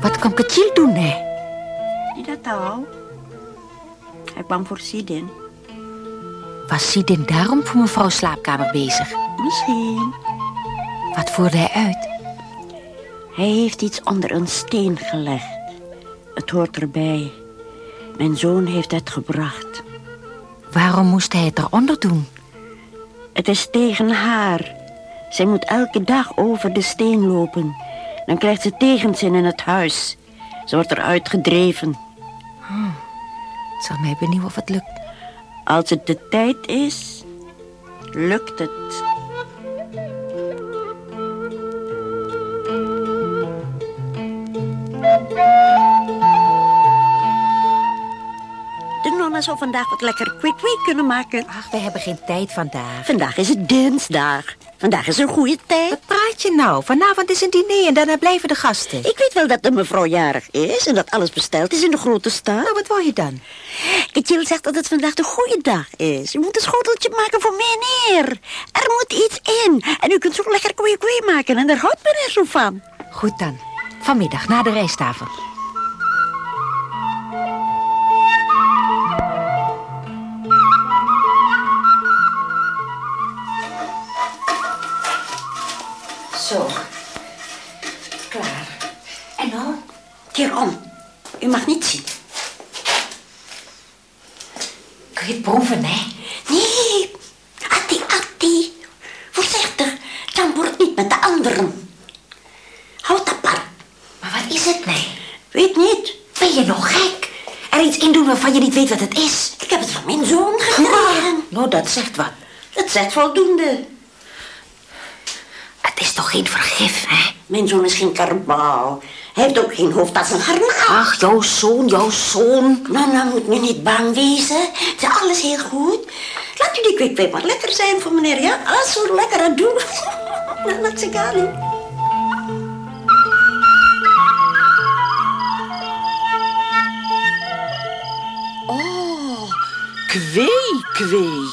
[SPEAKER 4] Wat kan Kachil doen, hè?
[SPEAKER 7] Is dat al? Hij kwam voor Sidin.
[SPEAKER 4] Was Sidin daarom voor mevrouw slaapkamer bezig?
[SPEAKER 7] Misschien.
[SPEAKER 4] Wat voerde hij uit?
[SPEAKER 7] Hij heeft iets onder een steen gelegd. Het hoort erbij. Mijn zoon heeft het gebracht.
[SPEAKER 4] Waarom moest hij het eronder doen?
[SPEAKER 7] Het is tegen haar. Zij moet elke dag over de steen lopen. Dan krijgt ze tegenzin in het huis. Ze wordt eruit gedreven.
[SPEAKER 4] Oh, het zal mij benieuwen of het lukt.
[SPEAKER 7] Als het de tijd is, lukt het. De nonna zou vandaag wat lekker kwik kunnen maken.
[SPEAKER 4] Ach, we hebben geen tijd vandaag.
[SPEAKER 7] Vandaag is het dinsdag. Vandaag is een goede tijd.
[SPEAKER 4] Wat praat je nou? Vanavond is een diner en daarna blijven de gasten.
[SPEAKER 7] Ik weet wel dat de mevrouw jarig is en dat alles besteld is in de grote stad.
[SPEAKER 4] Nou, wat wil je dan?
[SPEAKER 7] Katiel zegt dat het vandaag de goede dag is. U moet een schoteltje maken voor meneer. Er moet iets in. En u kunt zo lekker kwee maken en daar houdt meneer zo van.
[SPEAKER 4] Goed dan. Vanmiddag na de rijsttafel. Zo. Klaar.
[SPEAKER 7] En nou? Keer om. U mag niet zien.
[SPEAKER 4] Kun je het proeven, hè?
[SPEAKER 7] Nee. Atti, Atti. Voorzichtig. Dan wordt het niet met de anderen. Houd apart.
[SPEAKER 4] Maar wat is het, nee?
[SPEAKER 7] Weet niet.
[SPEAKER 4] Ben je nog gek? Er iets in doen waarvan je niet weet wat het is?
[SPEAKER 7] Ik heb het van mijn zoon gekregen.
[SPEAKER 4] Nou, dat zegt wat.
[SPEAKER 7] Het zet voldoende.
[SPEAKER 4] Het is toch geen vergif, hè?
[SPEAKER 7] Mijn zoon is geen karbouw. Hij heeft ook geen hoofd als een garnaal.
[SPEAKER 4] Ach, jouw zoon, jouw zoon.
[SPEAKER 7] Nana moet nu niet bang wezen. Het is alles heel goed. Laat u die kwikweek maar lekker zijn voor meneer, ja? Alles zo lekker aan doen. [laughs] Nana Tsikali.
[SPEAKER 2] Oh, kwee, kwee.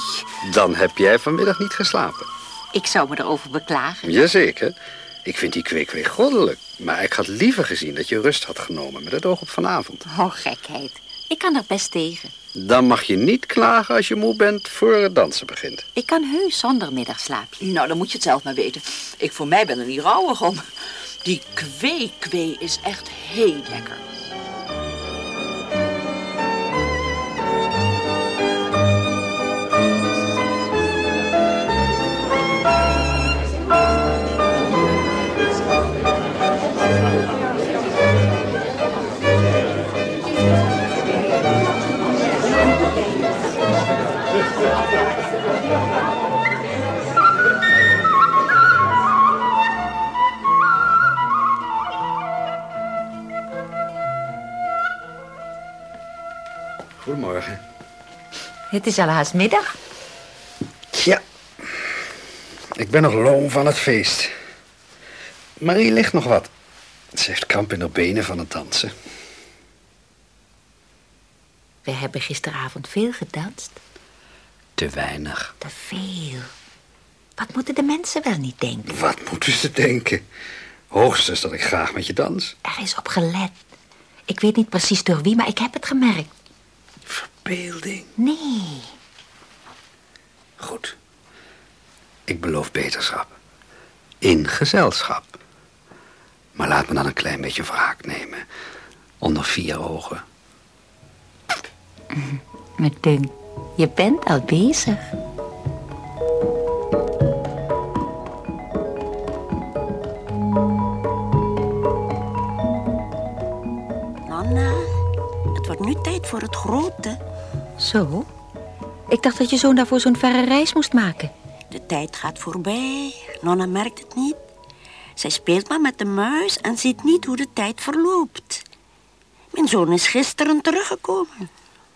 [SPEAKER 3] Dan heb jij vanmiddag niet geslapen.
[SPEAKER 4] Ik zou me erover beklagen.
[SPEAKER 3] Jazeker. Ik vind die kweekwee goddelijk. Maar ik had liever gezien dat je rust had genomen met het oog op vanavond.
[SPEAKER 4] Oh, gekheid. Ik kan er best tegen.
[SPEAKER 3] Dan mag je niet klagen als je moe bent voor het dansen begint.
[SPEAKER 4] Ik kan heus zonder middagslaapje.
[SPEAKER 2] Nou, dan moet je het zelf maar weten. Ik voor mij ben er niet rouwig om. Die kwee-kwee is echt heel lekker.
[SPEAKER 3] Goedemorgen.
[SPEAKER 4] Het is al haast middag.
[SPEAKER 3] Tja, ik ben nog loom van het feest. Marie ligt nog wat. Ze heeft kramp in haar benen van het dansen.
[SPEAKER 4] We hebben gisteravond veel gedanst.
[SPEAKER 3] Te weinig.
[SPEAKER 4] Te veel. Wat moeten de mensen wel niet denken?
[SPEAKER 3] Wat moeten ze denken? Hoogstens dat ik graag met je dans.
[SPEAKER 4] Er is op gelet. Ik weet niet precies door wie, maar ik heb het gemerkt.
[SPEAKER 3] Verbeelding.
[SPEAKER 4] Nee.
[SPEAKER 3] Goed. Ik beloof beterschap. In gezelschap. Maar laat me dan een klein beetje wraak nemen. Onder vier ogen.
[SPEAKER 4] Me dunkt, je bent al bezig.
[SPEAKER 7] Nonna, het wordt nu grote.
[SPEAKER 4] Zo? Ik dacht dat je zoon daarvoor zo'n verre reis moest maken.
[SPEAKER 7] De tijd gaat voorbij. Nonna merkt het niet. Zij speelt maar met de muis en ziet niet hoe de tijd verloopt. Mijn zoon is gisteren teruggekomen.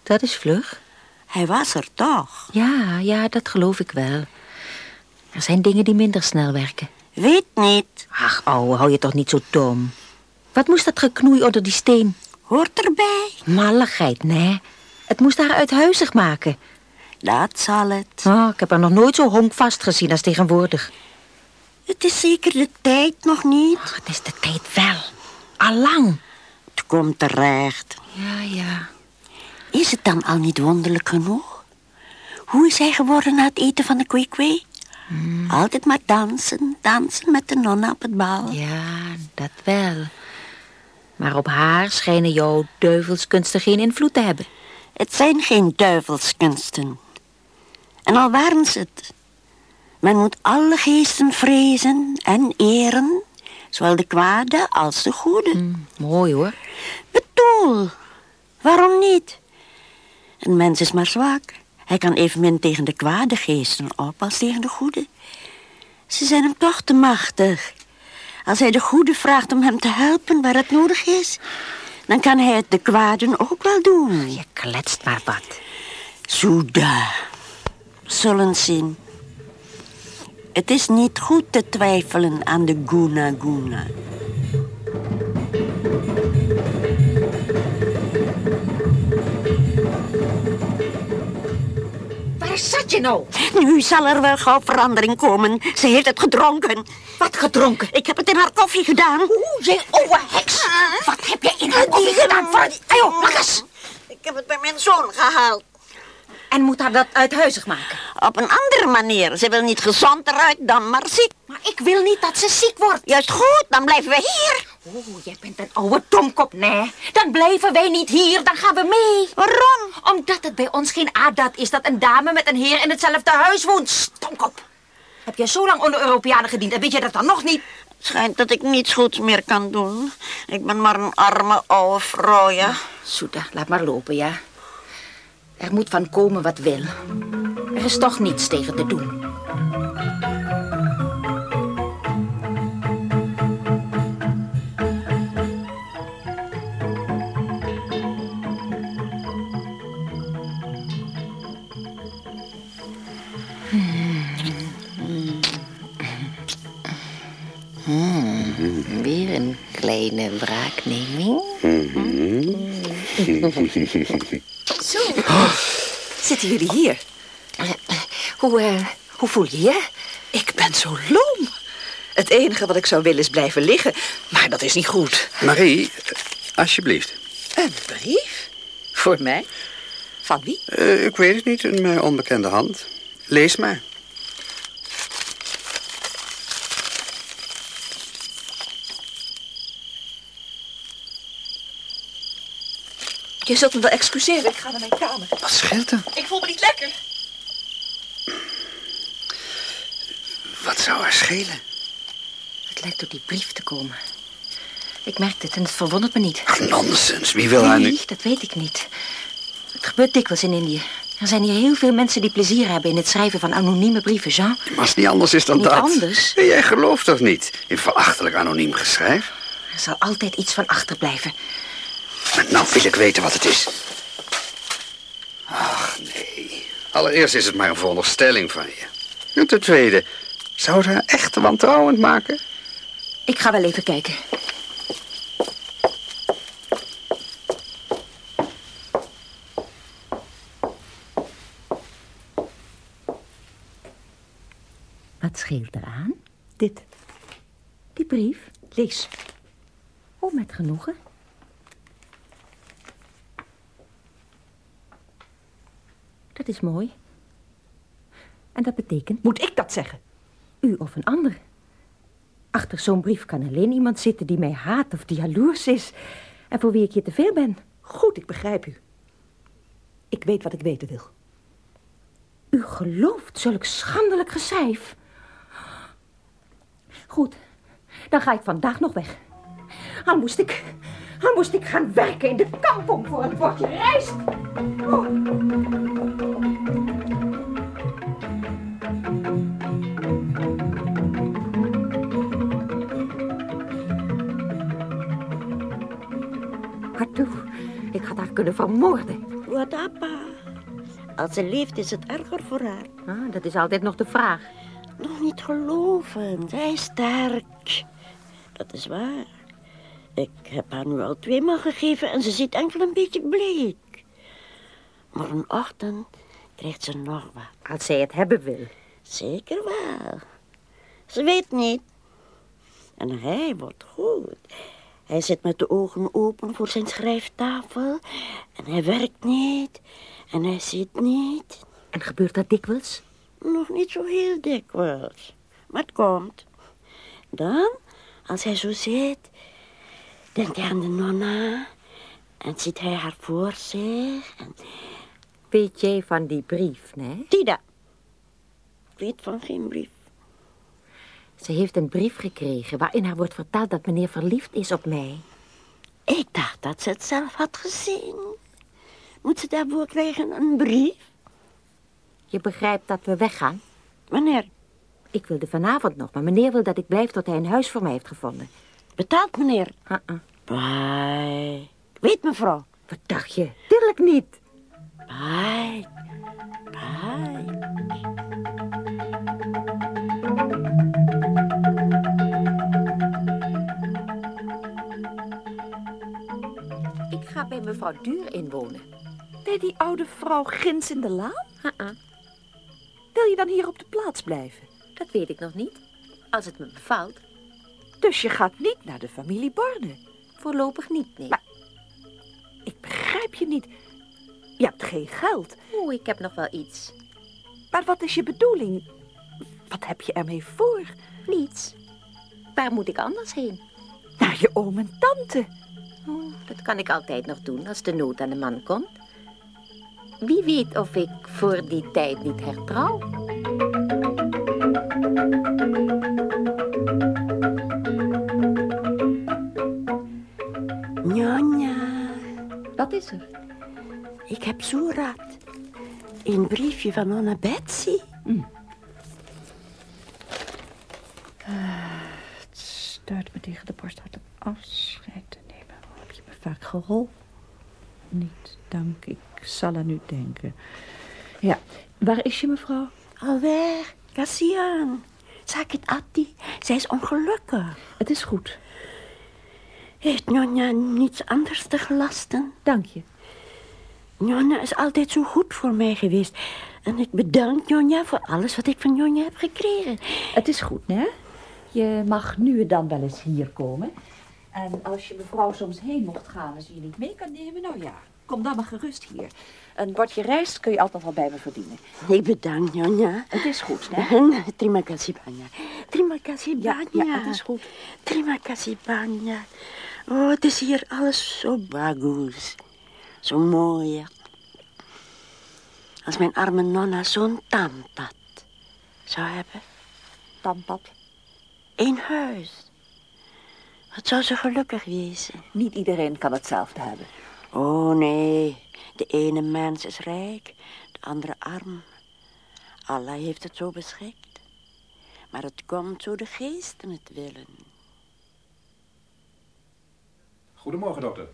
[SPEAKER 4] Dat is vlug.
[SPEAKER 7] Hij was er toch.
[SPEAKER 4] Ja, ja, dat geloof ik wel. Er zijn dingen die minder snel werken.
[SPEAKER 7] Weet niet.
[SPEAKER 4] Ach, ouwe, hou je toch niet zo dom. Wat moest dat geknoei onder die steen?
[SPEAKER 7] Hoort erbij.
[SPEAKER 4] Malligheid, nee. Het moest haar uithuizig maken.
[SPEAKER 7] Dat zal het.
[SPEAKER 4] Oh, ik heb haar nog nooit zo honkvast gezien als tegenwoordig.
[SPEAKER 7] Het is zeker de tijd nog niet.
[SPEAKER 4] het is de tijd wel. Allang.
[SPEAKER 7] Het komt terecht.
[SPEAKER 4] Ja, ja.
[SPEAKER 7] Is het dan al niet wonderlijk genoeg? Hoe is hij geworden na het eten van de kwee-kwee?
[SPEAKER 4] Hmm.
[SPEAKER 7] Altijd maar dansen, dansen met de nonna op het bal.
[SPEAKER 4] Ja, dat wel. Maar op haar schijnen jouw duivelskunsten geen invloed te hebben.
[SPEAKER 7] Het zijn geen duivelskunsten. En al waren ze het. Men moet alle geesten vrezen en eren, zowel de kwade als de goede.
[SPEAKER 4] Mm, mooi hoor.
[SPEAKER 7] Bedoel, waarom niet? Een mens is maar zwak. Hij kan evenmin tegen de kwade geesten op als tegen de goede. Ze zijn hem toch te machtig. Als hij de goede vraagt om hem te helpen waar het nodig is, dan kan hij het de kwaden ook wel doen. Je
[SPEAKER 4] kletst maar wat.
[SPEAKER 7] Soeda. Zullen zien. Het is niet goed te twijfelen aan de Guna Guna.
[SPEAKER 11] Waar zat je nou?
[SPEAKER 7] Nu zal er wel gauw verandering komen. Ze heeft het gedronken.
[SPEAKER 11] Wat gedronken?
[SPEAKER 7] Ik heb het in haar koffie gedaan. Ah.
[SPEAKER 11] Oeh, jij ouwe heks. Wat heb jij in haar koffie gedaan? Voor... Ajo, mag eens.
[SPEAKER 7] Ik heb het bij mijn zoon gehaald.
[SPEAKER 11] En moet haar dat uithuizig maken?
[SPEAKER 7] Op een andere manier. Ze wil niet gezond eruit dan, maar ziek.
[SPEAKER 11] Maar ik wil niet dat ze ziek wordt.
[SPEAKER 7] Juist goed, dan blijven we hier.
[SPEAKER 4] Oh,
[SPEAKER 11] Oeh, jij bent een oude domkop, nee. Dan blijven wij niet hier, dan gaan we mee.
[SPEAKER 7] Waarom?
[SPEAKER 11] Omdat het bij ons geen aardaad is dat een dame met een heer in hetzelfde huis woont. Stomkop. Heb jij zo lang onder Europeanen gediend en weet je dat dan nog niet?
[SPEAKER 7] Schijnt dat ik niets goeds meer kan doen. Ik ben maar een arme oude vrouw, ja.
[SPEAKER 11] Soeda, laat maar lopen, ja. Er moet van komen wat wil. Er is toch niets tegen te doen.
[SPEAKER 5] Hmm,
[SPEAKER 4] Weer een kleine wraakneming.
[SPEAKER 2] Zo. Zitten jullie hier? Hoe, eh, hoe voel je je? Ik ben zo loom. Het enige wat ik zou willen is blijven liggen, maar dat is niet goed.
[SPEAKER 3] Marie, alsjeblieft.
[SPEAKER 2] Een brief? Voor mij? Van wie?
[SPEAKER 3] Eh, ik weet het niet, een mij onbekende hand. Lees maar.
[SPEAKER 2] Je zult me wel excuseren, ik ga naar mijn kamer.
[SPEAKER 3] Wat scheelt er?
[SPEAKER 2] Ik voel me niet lekker.
[SPEAKER 3] Wat zou haar schelen?
[SPEAKER 4] Het lijkt door die brief te komen. Ik merk dit en het verwondert me niet.
[SPEAKER 3] Nonsens, wie wil haar nu?
[SPEAKER 4] Nee, dat weet ik niet. Het gebeurt dikwijls in Indië. Er zijn hier heel veel mensen die plezier hebben in het schrijven van anonieme brieven, Jean.
[SPEAKER 3] Maar als het niet anders is dan
[SPEAKER 4] Niet
[SPEAKER 3] dat.
[SPEAKER 4] anders?
[SPEAKER 3] Jij gelooft toch niet in verachtelijk anoniem geschrijf?
[SPEAKER 4] Er zal altijd iets van achterblijven.
[SPEAKER 3] Maar nou wil ik weten wat het is. Ach, nee. Allereerst is het maar een veronderstelling van je. En ten tweede, zou het haar echt wantrouwend maken?
[SPEAKER 4] Ik ga wel even kijken. Wat scheelt eraan? Dit. Die brief. Lees. Oh, met genoegen. Dat is mooi. En dat betekent...
[SPEAKER 2] Moet ik dat zeggen?
[SPEAKER 4] U of een ander. Achter zo'n brief kan alleen iemand zitten die mij haat of die jaloers is. En voor wie ik je te veel ben.
[SPEAKER 2] Goed, ik begrijp u. Ik weet wat ik weten wil.
[SPEAKER 4] U gelooft zulk schandelijk geschrijf. Goed, dan ga ik vandaag nog weg. Al moest ik, al moest ik gaan werken in de kampong voor een bordje rijst.
[SPEAKER 17] Hartoe, ik had haar kunnen vermoorden.
[SPEAKER 7] Wat appa. Als ze leeft is het erger voor haar.
[SPEAKER 17] Ah, dat is altijd nog de vraag.
[SPEAKER 7] Nog niet geloven. Zij is sterk. Dat is waar. Ik heb haar nu al tweemaal gegeven en ze ziet enkel een beetje bleek. Morgenochtend krijgt ze nog wat.
[SPEAKER 17] Als zij het hebben wil.
[SPEAKER 7] Zeker wel. Ze weet niet. En hij wordt goed. Hij zit met de ogen open voor zijn schrijftafel. En hij werkt niet. En hij ziet niet.
[SPEAKER 17] En gebeurt dat dikwijls?
[SPEAKER 7] Nog niet zo heel dikwijls. Maar het komt. Dan, als hij zo zit, denkt hij aan de nonna. En ziet hij haar voor zich. En...
[SPEAKER 17] Weet jij van die brief, nee?
[SPEAKER 7] Tida. Ik weet van geen brief.
[SPEAKER 17] Ze heeft een brief gekregen waarin haar wordt verteld dat meneer verliefd is op mij.
[SPEAKER 7] Ik dacht dat ze het zelf had gezien. Moet ze daarvoor krijgen een brief?
[SPEAKER 17] Je begrijpt dat we weggaan?
[SPEAKER 7] Wanneer?
[SPEAKER 17] Ik wilde vanavond nog, maar meneer wil dat ik blijf tot hij een huis voor mij heeft gevonden.
[SPEAKER 7] Betaalt meneer?
[SPEAKER 17] Uh-uh.
[SPEAKER 7] Bye. Weet mevrouw.
[SPEAKER 17] Wat dacht je? Tuurlijk niet.
[SPEAKER 7] Bye. Bye.
[SPEAKER 4] Ik ga bij mevrouw Duur inwonen.
[SPEAKER 18] Bij die oude vrouw ginds in de laan?
[SPEAKER 4] Uh-uh,
[SPEAKER 18] Wil je dan hier op de plaats blijven?
[SPEAKER 4] dat weet ik nog niet. Als het me bevalt,
[SPEAKER 18] Dus je gaat niet naar de familie Borne.
[SPEAKER 4] voorlopig niet, nee.
[SPEAKER 18] Maar- Ik begrijp je niet. Je hebt geen geld.
[SPEAKER 4] Oeh, ik heb nog wel iets.
[SPEAKER 18] Maar wat is je bedoeling? Wat heb je ermee voor?
[SPEAKER 4] Niets. Waar moet ik anders heen?
[SPEAKER 18] Naar je oom en tante.
[SPEAKER 4] Oh, dat kan ik altijd nog doen als de nood aan de man komt. Wie weet of ik voor die tijd niet hertrouw.
[SPEAKER 7] Njonja.
[SPEAKER 4] Wat is er?
[SPEAKER 7] Ik heb zo raad. Een briefje van Anna Betsy.
[SPEAKER 4] Mm. Eh,
[SPEAKER 2] Het stuit me tegen de borst hard om afscheid te nemen. Oh, Heb je me vaak geholpen? Niet, dank. Ik zal aan u denken. Ja, waar is je mevrouw?
[SPEAKER 7] Alweer, Cassian. Sakit Atti, zij is ongelukkig.
[SPEAKER 2] Het is goed.
[SPEAKER 7] Heeft Njonja niets anders te gelasten?
[SPEAKER 2] Dank je.
[SPEAKER 7] Njonja is altijd zo goed voor mij geweest. En ik bedank Njonja voor alles wat ik van Njonja heb gekregen.
[SPEAKER 2] Het is goed, hè? Je mag nu en dan wel eens hier komen. En als je mevrouw soms heen mocht gaan en ze je niet mee kan nemen, nou ja, kom dan maar gerust hier. Een bordje rijst kun je altijd wel bij me verdienen.
[SPEAKER 7] Ik bedank Njonja.
[SPEAKER 2] Het is goed,
[SPEAKER 7] [laughs]
[SPEAKER 2] hè?
[SPEAKER 7] En Terima kasih banyak. Terima kasih
[SPEAKER 2] Ja,
[SPEAKER 7] banyak.
[SPEAKER 2] ja, het is goed.
[SPEAKER 7] Terima kasih banyak. Oh, het is hier alles zo bagus. Zo mooi. hè. Als mijn arme nonna zo'n tandpad zou hebben.
[SPEAKER 18] Tandpad?
[SPEAKER 7] Een huis. Wat zou ze gelukkig wezen.
[SPEAKER 18] Niet iedereen kan hetzelfde hebben.
[SPEAKER 7] Oh nee, de ene mens is rijk, de andere arm. Allah heeft het zo beschikt. Maar het komt zo de geesten het willen.
[SPEAKER 9] Goedemorgen, dokter.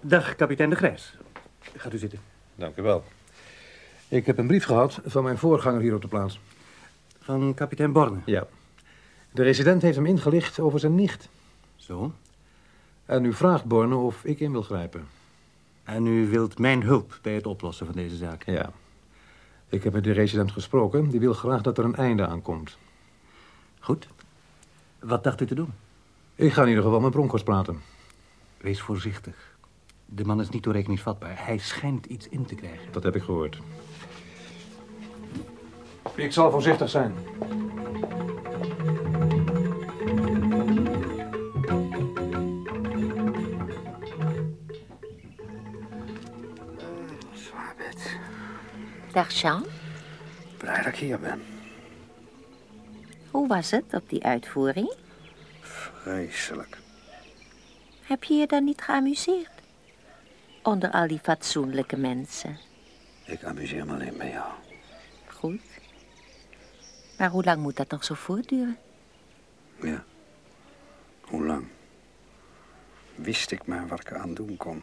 [SPEAKER 19] Dag, kapitein de Grijs. Gaat u zitten.
[SPEAKER 9] Dank u wel. Ik heb een brief gehad van mijn voorganger hier op de plaats.
[SPEAKER 19] Van kapitein Borne.
[SPEAKER 9] Ja. De resident heeft hem ingelicht over zijn nicht.
[SPEAKER 19] Zo.
[SPEAKER 9] En u vraagt Borne of ik in wil grijpen.
[SPEAKER 19] En u wilt mijn hulp bij het oplossen van deze zaak.
[SPEAKER 9] Ja. Ik heb met de resident gesproken. Die wil graag dat er een einde aan komt.
[SPEAKER 19] Goed. Wat dacht u te doen?
[SPEAKER 9] Ik ga in ieder geval met Bronkos praten.
[SPEAKER 19] Wees voorzichtig. De man is niet toerekeningsvatbaar. Hij schijnt iets in te krijgen.
[SPEAKER 9] Dat heb ik gehoord. Ik zal voorzichtig zijn.
[SPEAKER 3] Zwaar bed.
[SPEAKER 4] Dag, Jean.
[SPEAKER 3] Blij dat ik hier ben.
[SPEAKER 4] Hoe was het op die uitvoering?
[SPEAKER 3] Vreselijk.
[SPEAKER 4] Heb je je dan niet geamuseerd? Onder al die fatsoenlijke mensen.
[SPEAKER 20] Ik amuseer me alleen bij jou.
[SPEAKER 4] Goed. Maar hoe lang moet dat nog zo voortduren?
[SPEAKER 20] Ja. Hoe lang? Wist ik maar wat ik eraan doen kon.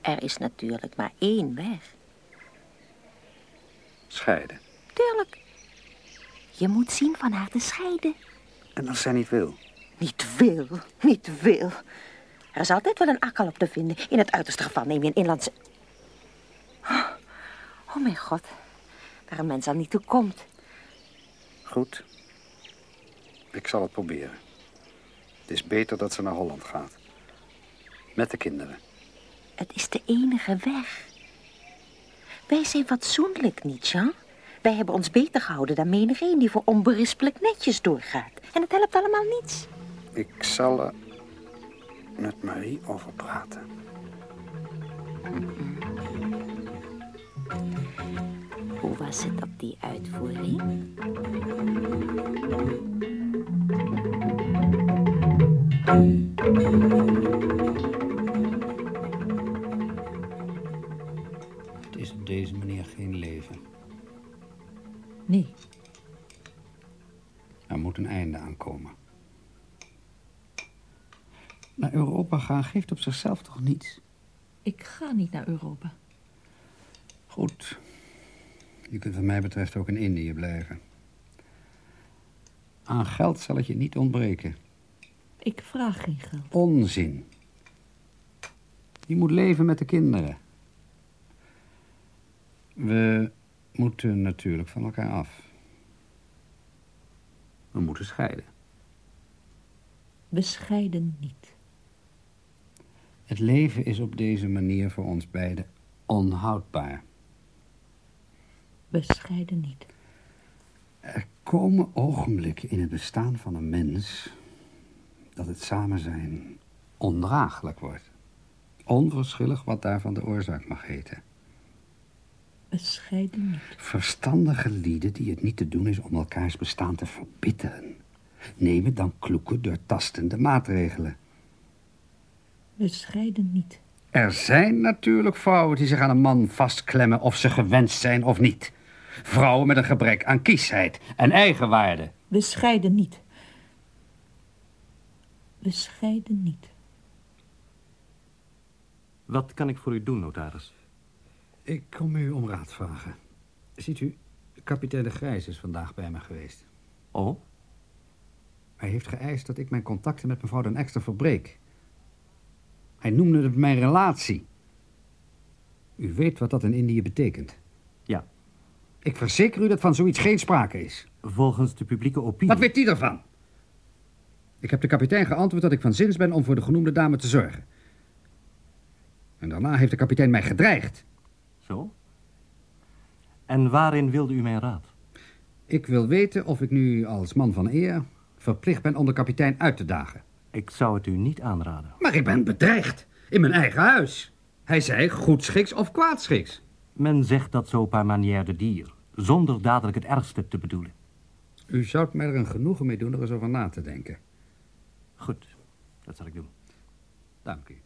[SPEAKER 4] Er is nou- natuurlijk maar één weg.
[SPEAKER 20] Scheiden.
[SPEAKER 4] Tuurlijk. Je moet zien van haar te scheiden.
[SPEAKER 20] En als zij niet wil?
[SPEAKER 21] Niet wil, niet wil. Er is altijd wel een akkel op te vinden. In het uiterste geval neem je een inlandse...
[SPEAKER 4] Oh mijn god, waar een mens al niet toe komt.
[SPEAKER 20] Goed. Ik zal het proberen. Het is beter dat ze naar Holland gaat. Met de kinderen.
[SPEAKER 4] Het is de enige weg. Wij zijn fatsoenlijk niet, Jean. Wij hebben ons beter gehouden dan menigeen die voor onberispelijk netjes doorgaat. En het helpt allemaal niets.
[SPEAKER 20] Ik zal er met Marie over praten.
[SPEAKER 4] Hoe was het op die uitvoering?
[SPEAKER 3] Het is op deze manier geen leven.
[SPEAKER 2] Nee.
[SPEAKER 3] Er moet een einde aan komen. Naar Europa gaan geeft op zichzelf toch niets?
[SPEAKER 2] Ik ga niet naar Europa.
[SPEAKER 3] Goed. Je kunt wat mij betreft ook in Indië blijven. Aan geld zal het je niet ontbreken.
[SPEAKER 2] Ik vraag geen geld.
[SPEAKER 3] Onzin. Je moet leven met de kinderen. We moeten natuurlijk van elkaar af. We moeten scheiden.
[SPEAKER 2] We scheiden niet.
[SPEAKER 3] Het leven is op deze manier voor ons beiden onhoudbaar.
[SPEAKER 2] We scheiden niet.
[SPEAKER 3] Er komen ogenblikken in het bestaan van een mens dat het samen zijn ondraaglijk wordt. Onverschillig wat daarvan de oorzaak mag heten.
[SPEAKER 2] We scheiden niet.
[SPEAKER 3] Verstandige lieden die het niet te doen is om elkaars bestaan te verbitteren, nemen dan kloeke, doortastende maatregelen.
[SPEAKER 2] We scheiden niet.
[SPEAKER 3] Er zijn natuurlijk vrouwen die zich aan een man vastklemmen of ze gewenst zijn of niet. Vrouwen met een gebrek aan kiesheid en eigenwaarde.
[SPEAKER 2] We scheiden niet. We scheiden niet.
[SPEAKER 9] Wat kan ik voor u doen, notaris?
[SPEAKER 3] Ik kom u om raad vragen. Ziet u, kapitein de Grijs is vandaag bij me geweest.
[SPEAKER 9] Oh?
[SPEAKER 3] Hij heeft geëist dat ik mijn contacten met mevrouw den Ekster verbreek. Hij noemde het mijn relatie. U weet wat dat in Indië betekent.
[SPEAKER 9] Ja.
[SPEAKER 3] Ik verzeker u dat van zoiets geen sprake is.
[SPEAKER 9] Volgens de publieke opinie.
[SPEAKER 3] Wat weet die ervan? Ik heb de kapitein geantwoord dat ik van zins ben om voor de genoemde dame te zorgen. En daarna heeft de kapitein mij gedreigd.
[SPEAKER 9] Zo? En waarin wilde u mijn raad?
[SPEAKER 3] Ik wil weten of ik nu als man van eer verplicht ben om de kapitein uit te dagen.
[SPEAKER 9] Ik zou het u niet aanraden.
[SPEAKER 3] Maar ik ben bedreigd. In mijn eigen huis. Hij zei goedschiks of kwaadschiks.
[SPEAKER 9] Men zegt dat zo par manière de dier, zonder dadelijk het ergste te bedoelen.
[SPEAKER 3] U zou het mij er een genoegen mee doen er eens over na te denken.
[SPEAKER 9] Goed, dat zal ik doen.
[SPEAKER 3] Dank u.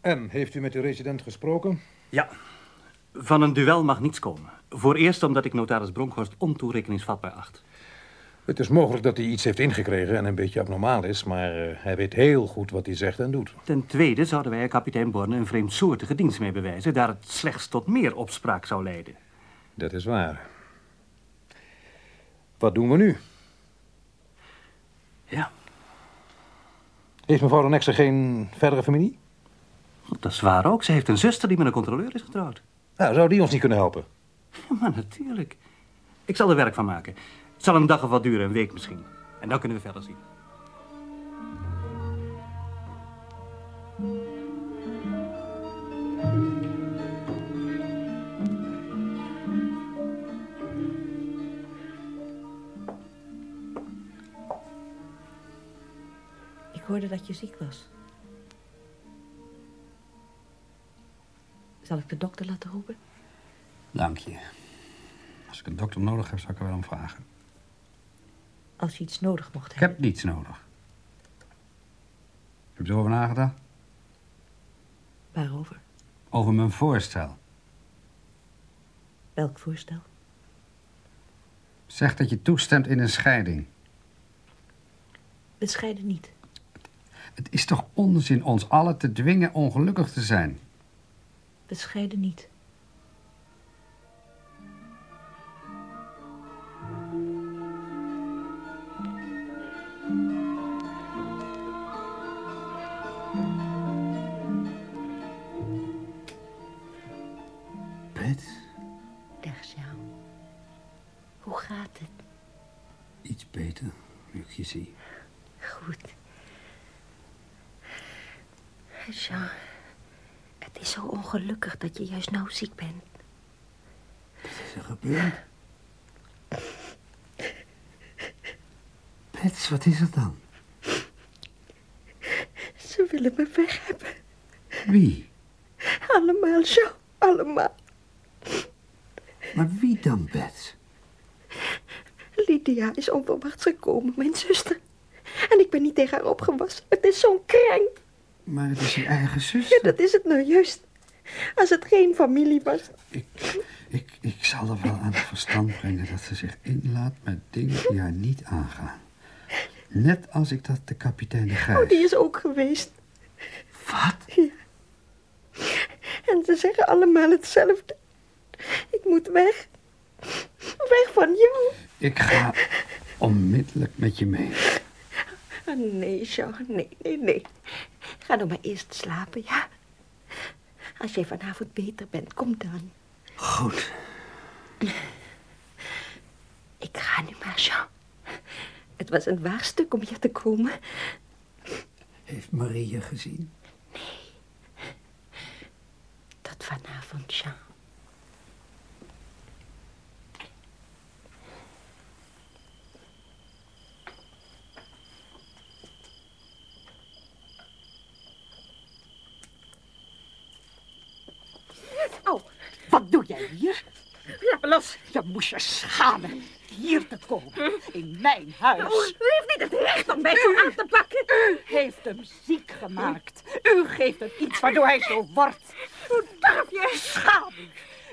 [SPEAKER 22] En, heeft u met de resident gesproken?
[SPEAKER 9] Ja, van een duel mag niets komen. Voor eerst omdat ik notaris Bronkhorst ontoerekeningsvatbaar acht.
[SPEAKER 22] Het is mogelijk dat hij iets heeft ingekregen en een beetje abnormaal is, maar eh, hij weet heel goed wat hij zegt en doet.
[SPEAKER 9] Ten tweede zouden wij er kapitein Borne een vreemdsoortige dienst mee bewijzen, daar het slechts tot meer opspraak zou leiden.
[SPEAKER 22] Dat is waar. Wat doen we nu?
[SPEAKER 9] Ja.
[SPEAKER 22] Heeft mevrouw de Nexer geen verdere familie?
[SPEAKER 9] Dat is waar ook. Ze heeft een zuster die met een controleur is getrouwd.
[SPEAKER 22] Nou, zou die ons niet kunnen helpen?
[SPEAKER 9] Ja, maar natuurlijk. Ik zal er werk van maken. Het zal een dag of wat duren, een week misschien. En dan kunnen we verder zien.
[SPEAKER 2] Ik hoorde dat je ziek was. Zal ik de dokter laten roepen?
[SPEAKER 3] Dank je. Als ik een dokter nodig heb, zou ik er wel om vragen.
[SPEAKER 2] Als je iets nodig mocht
[SPEAKER 3] Ik heb niets nodig. Heb je erover nagedacht?
[SPEAKER 2] Waarover?
[SPEAKER 3] Over mijn voorstel.
[SPEAKER 23] Welk voorstel?
[SPEAKER 3] Zeg dat je toestemt in een scheiding.
[SPEAKER 23] We scheiden niet.
[SPEAKER 3] Het is toch onzin ons allen te dwingen ongelukkig te zijn?
[SPEAKER 23] We scheiden niet.
[SPEAKER 3] Pet,
[SPEAKER 24] Dag, Sjaal. Hoe gaat het?
[SPEAKER 3] iets beter, nu ik je zie.
[SPEAKER 24] Goed. Jean, het is zo ongelukkig dat je juist nou ziek bent.
[SPEAKER 3] Wat is er gebeurd? Pets, wat is er dan?
[SPEAKER 11] Ze willen me weg hebben.
[SPEAKER 3] Wie?
[SPEAKER 11] Allemaal, zo, allemaal.
[SPEAKER 3] Maar wie dan, Pets?
[SPEAKER 11] Lydia is onverwachts gekomen, mijn zuster. En ik ben niet tegen haar opgewassen. Het is zo'n krenk.
[SPEAKER 3] Maar het is je eigen zus.
[SPEAKER 11] Ja, dat is het nou juist. Als het geen familie was.
[SPEAKER 3] Ik, ik zal er wel aan het verstand brengen dat ze zich inlaat met dingen die haar niet aangaan. Net als ik dat de kapitein de Grijs...
[SPEAKER 11] Oh, die is ook geweest.
[SPEAKER 3] Wat?
[SPEAKER 11] Ja. En ze zeggen allemaal hetzelfde. Ik moet weg. Weg van jou.
[SPEAKER 3] Ik ga onmiddellijk met je mee.
[SPEAKER 11] Ah, nee, Jean, nee, nee, nee. Ga nou maar eerst slapen, ja? Als jij vanavond beter bent, kom dan.
[SPEAKER 3] Goed.
[SPEAKER 11] Ik ga nu maar, Jean. Het was een waarstuk om hier te komen.
[SPEAKER 3] Heeft Marie je gezien?
[SPEAKER 11] Tot vanavond, Jean.
[SPEAKER 2] Au, Nou, wat doe jij hier? Laat me los. Je moest je schamen hier te komen, in mijn huis.
[SPEAKER 4] Oh, U heeft niet het recht om mij zo aan
[SPEAKER 2] te pakken. U heeft hem ziek gemaakt. U geeft hem iets waardoor hij zo wordt. Hoe durf je? Schaam u.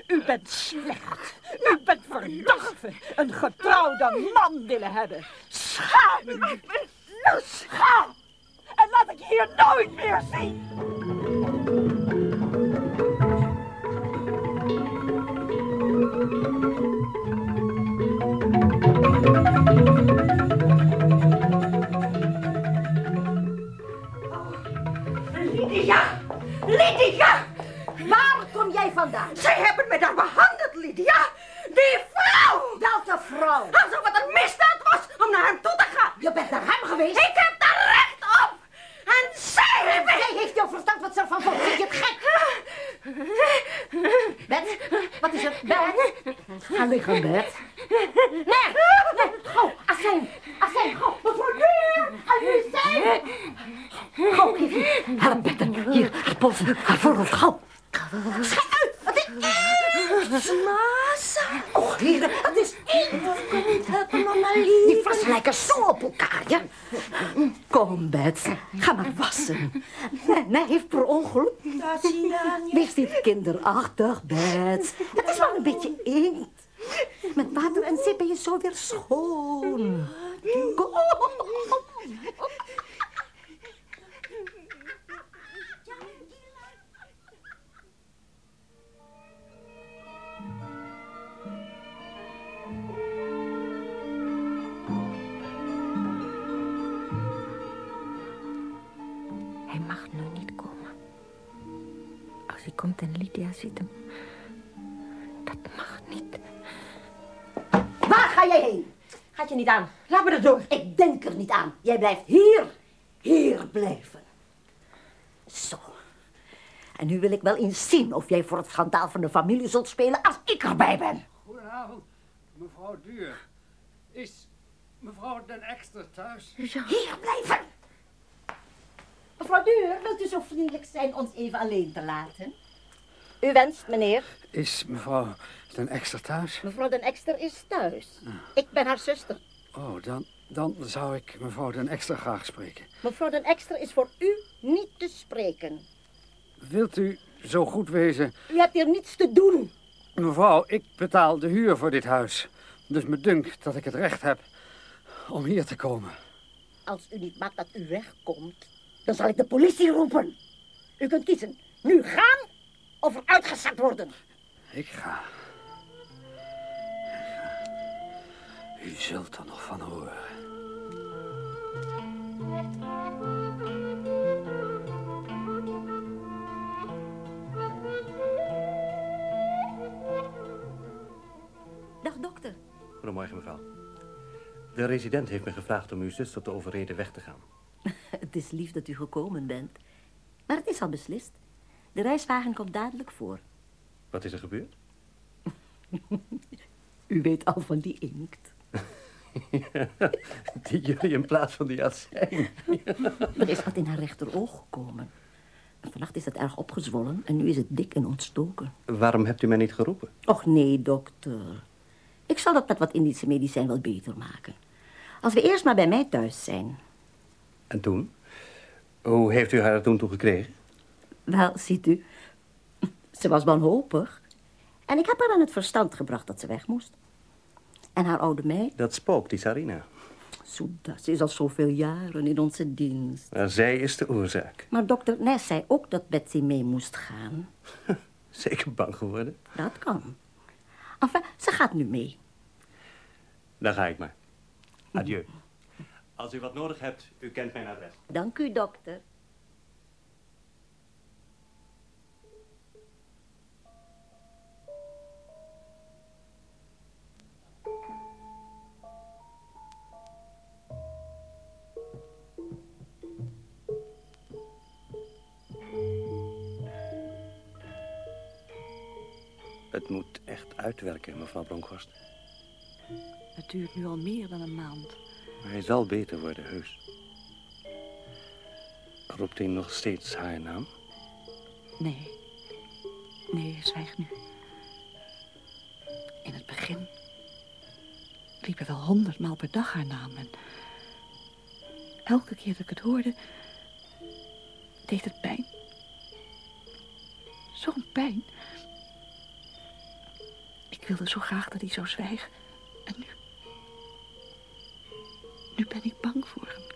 [SPEAKER 2] U bent slecht. U bent verdorven. Een getrouwde man willen hebben. Schaam u. Ik ben los. Schaam. En laat ik je hier nooit meer zien.
[SPEAKER 4] Lydia! Lydia! Waar kom jij vandaan? Zij hebben me daar behandeld, Lydia! Die vrouw! Welke vrouw? Alsof het een misdaad was om naar hem toe te gaan! Je bent naar hem geweest? Ik heb daar recht op! En zij heeft Zij heeft jouw verstand wat ze ervan vond. Vind je het gek? Bed, wat is het? Bed?
[SPEAKER 7] Ga liggen, Bert.
[SPEAKER 4] Nee! nee. Gauw, Assijn! Assijn, gauw! Mevrouw Duur! Assijn!
[SPEAKER 7] Gauw, Kiki. Help, Bert. Hier, haar polsen, haar voorhoofd, gauw.
[SPEAKER 4] Schij uit! Het is Massa! Och, heren, het is ik. Ik kan niet helpen, mama Lee.
[SPEAKER 7] Die vassen lijken zo op elkaar, ja. Kom, Bets. Ga maar wassen. Nana heeft per ongeluk... Wees niet kinderachtig, Bets. Het is wel een beetje inkt. Met water en zeep ben je zo weer schoon. Kom.
[SPEAKER 24] Hij mag nu niet komen. Als hij komt en Lydia ziet hem.
[SPEAKER 4] Waar ga jij heen? Gaat je niet aan. Laat me dat door. Ik denk er niet aan. Jij blijft hier. Hier blijven.
[SPEAKER 7] Zo. En nu wil ik wel eens zien of jij voor het schandaal van de familie zult spelen als ik erbij ben.
[SPEAKER 25] Goedenavond, mevrouw Duur. Is mevrouw Den Ekster thuis?
[SPEAKER 4] Hier blijven.
[SPEAKER 7] Mevrouw Duur, wilt u zo vriendelijk zijn ons even alleen te laten?
[SPEAKER 4] U wenst, meneer.
[SPEAKER 25] Is mevrouw Den Ekster thuis?
[SPEAKER 4] Mevrouw Den Ekster is thuis. Ik ben haar zuster.
[SPEAKER 3] Ah,
[SPEAKER 25] Oh, dan, dan zou ik mevrouw Den Ekster graag spreken.
[SPEAKER 4] Mevrouw Den Ekster is voor u niet te spreken.
[SPEAKER 25] Wilt u
[SPEAKER 3] zo goed wezen.
[SPEAKER 5] U hebt hier niets te doen.
[SPEAKER 3] Mevrouw, ik betaal de huur voor dit huis. Dus me dunkt dat ik het recht heb om hier te komen.
[SPEAKER 5] Als u niet maakt dat u wegkomt, dan zal ik de politie roepen. U kunt kiezen. Nu gaan of eruit gezakt worden.
[SPEAKER 3] Ik ga. U zult er nog van horen.
[SPEAKER 7] Dag dokter.
[SPEAKER 9] Goedemorgen, mevrouw. De resident heeft me gevraagd om uw zuster te overreden weg te gaan.
[SPEAKER 7] [laughs] Het is lief dat u gekomen bent. Maar het is al beslist. De reiswagen komt dadelijk voor.
[SPEAKER 9] Wat is er gebeurd? [laughs]
[SPEAKER 7] U weet al van die inkt.
[SPEAKER 9] Die jullie in plaats van die azijn.
[SPEAKER 7] Er is wat in haar rechteroog gekomen. Vannacht is dat erg opgezwollen en nu is het dik en ontstoken.
[SPEAKER 9] Waarom hebt u mij niet geroepen?
[SPEAKER 7] Och nee, dokter. Ik zal dat met wat Indische medicijn wel beter maken. Als we eerst maar bij mij thuis zijn.
[SPEAKER 9] En toen? Hoe heeft u haar er toen toe gekregen?
[SPEAKER 7] Wel, ziet u, ze was wanhopig. En ik heb haar aan het verstand gebracht dat ze weg moest. En haar oude meid,
[SPEAKER 9] Dat spook, die Sarina.
[SPEAKER 7] Soeda, ze is al zoveel jaren in onze dienst.
[SPEAKER 9] Maar zij is de oorzaak.
[SPEAKER 7] Maar dokter Nes zei ook dat Betsy mee moest gaan.
[SPEAKER 9] Zeker bang geworden.
[SPEAKER 7] Dat kan. Enfin, ze gaat nu mee.
[SPEAKER 9] Dan ga ik maar. Adieu. Als u wat nodig hebt, u kent mijn adres.
[SPEAKER 7] Dank u, dokter.
[SPEAKER 9] Het moet echt uitwerken, mevrouw Bronkhorst.
[SPEAKER 2] Het duurt nu al meer dan een maand.
[SPEAKER 9] Maar hij zal beter worden, heus. Roept hij nog steeds haar naam?
[SPEAKER 2] Nee. Nee, zwijg nu. In het begin riepen wel honderdmaal per dag haar naam. En elke keer dat ik het hoorde, deed het pijn. Zo'n pijn. Ik wilde zo graag dat hij zou zwijgen. En nu... Nu ben ik bang voor hem.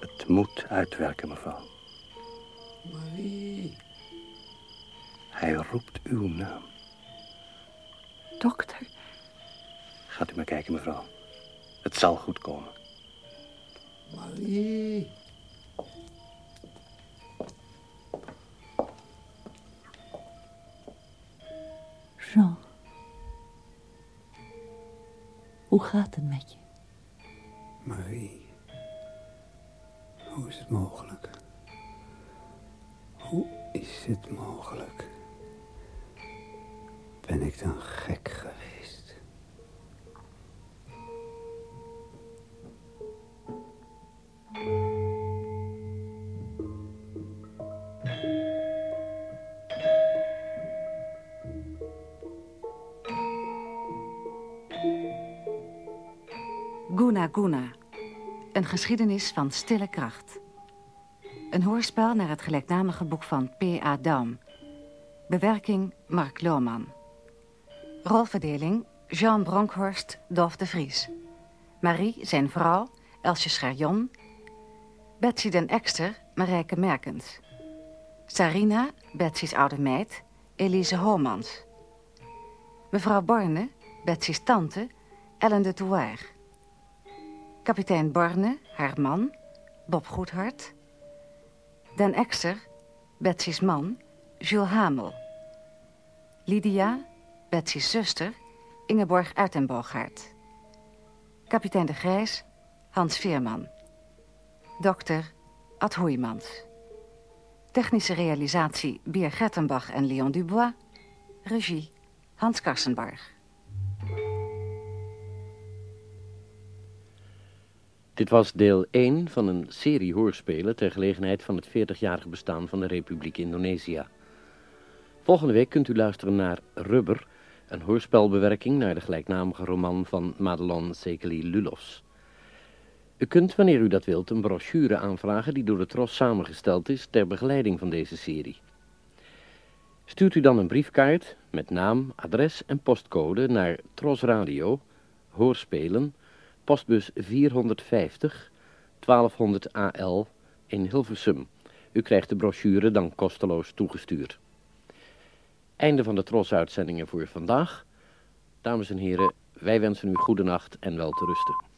[SPEAKER 9] Het moet uitwerken, mevrouw.
[SPEAKER 2] Marie.
[SPEAKER 9] Hij roept uw naam.
[SPEAKER 2] Dokter,
[SPEAKER 9] Gaat u maar kijken, mevrouw. Het zal goed komen.
[SPEAKER 2] Marie. Jean. Hoe gaat het met je?
[SPEAKER 26] Marie, hoe is het mogelijk? Hoe is het mogelijk? Ben ik dan gek geweest?
[SPEAKER 1] Guna Guna. Een geschiedenis van stille kracht. Een hoorspel naar het gelijknamige boek van P.A. Daum. Bewerking Mark Lohman. Rolverdeling Jean Bronkhorst, Dolf de Vries. Marie, zijn vrouw, Elsje Scherjon. Betsy den Ekster, Marijke Merkens. Sarina, Betsy's oude meid, Elise Homans. Mevrouw Borne, Betsy's tante, Ellen de Touaire. Kapitein Borne, haar man, Bob Goedhart. Den Ekster, Betsy's man, Jules Hamel. Lydia, Betsy's zuster, Ingeborg Uitenboogaard. Kapitein de Grijs, Hans Veerman. Dokter, Ad Hoeymans. Technische realisatie, Bier Gertenbach en Leon Dubois. Regie, Hans Karsenbarg.
[SPEAKER 10] Dit was deel 1 van een serie hoorspelen ter gelegenheid van het 40-jarig bestaan van de Republiek Indonesië. Volgende week kunt u luisteren naar Rubber, een hoorspelbewerking naar de gelijknamige roman van Madelon Sekeli Lulofs. U kunt, wanneer u dat wilt, een brochure aanvragen die door de Tros samengesteld is ter begeleiding van deze serie. Stuurt u dan een briefkaart met naam, adres en postcode naar Tros Radio, Hoorspelen, postbus 450, 1200 AL in Hilversum. U krijgt de brochure dan kosteloos toegestuurd. Einde van de Tros-uitzendingen voor vandaag. Dames en heren, wij wensen u goede nacht en wel te rusten.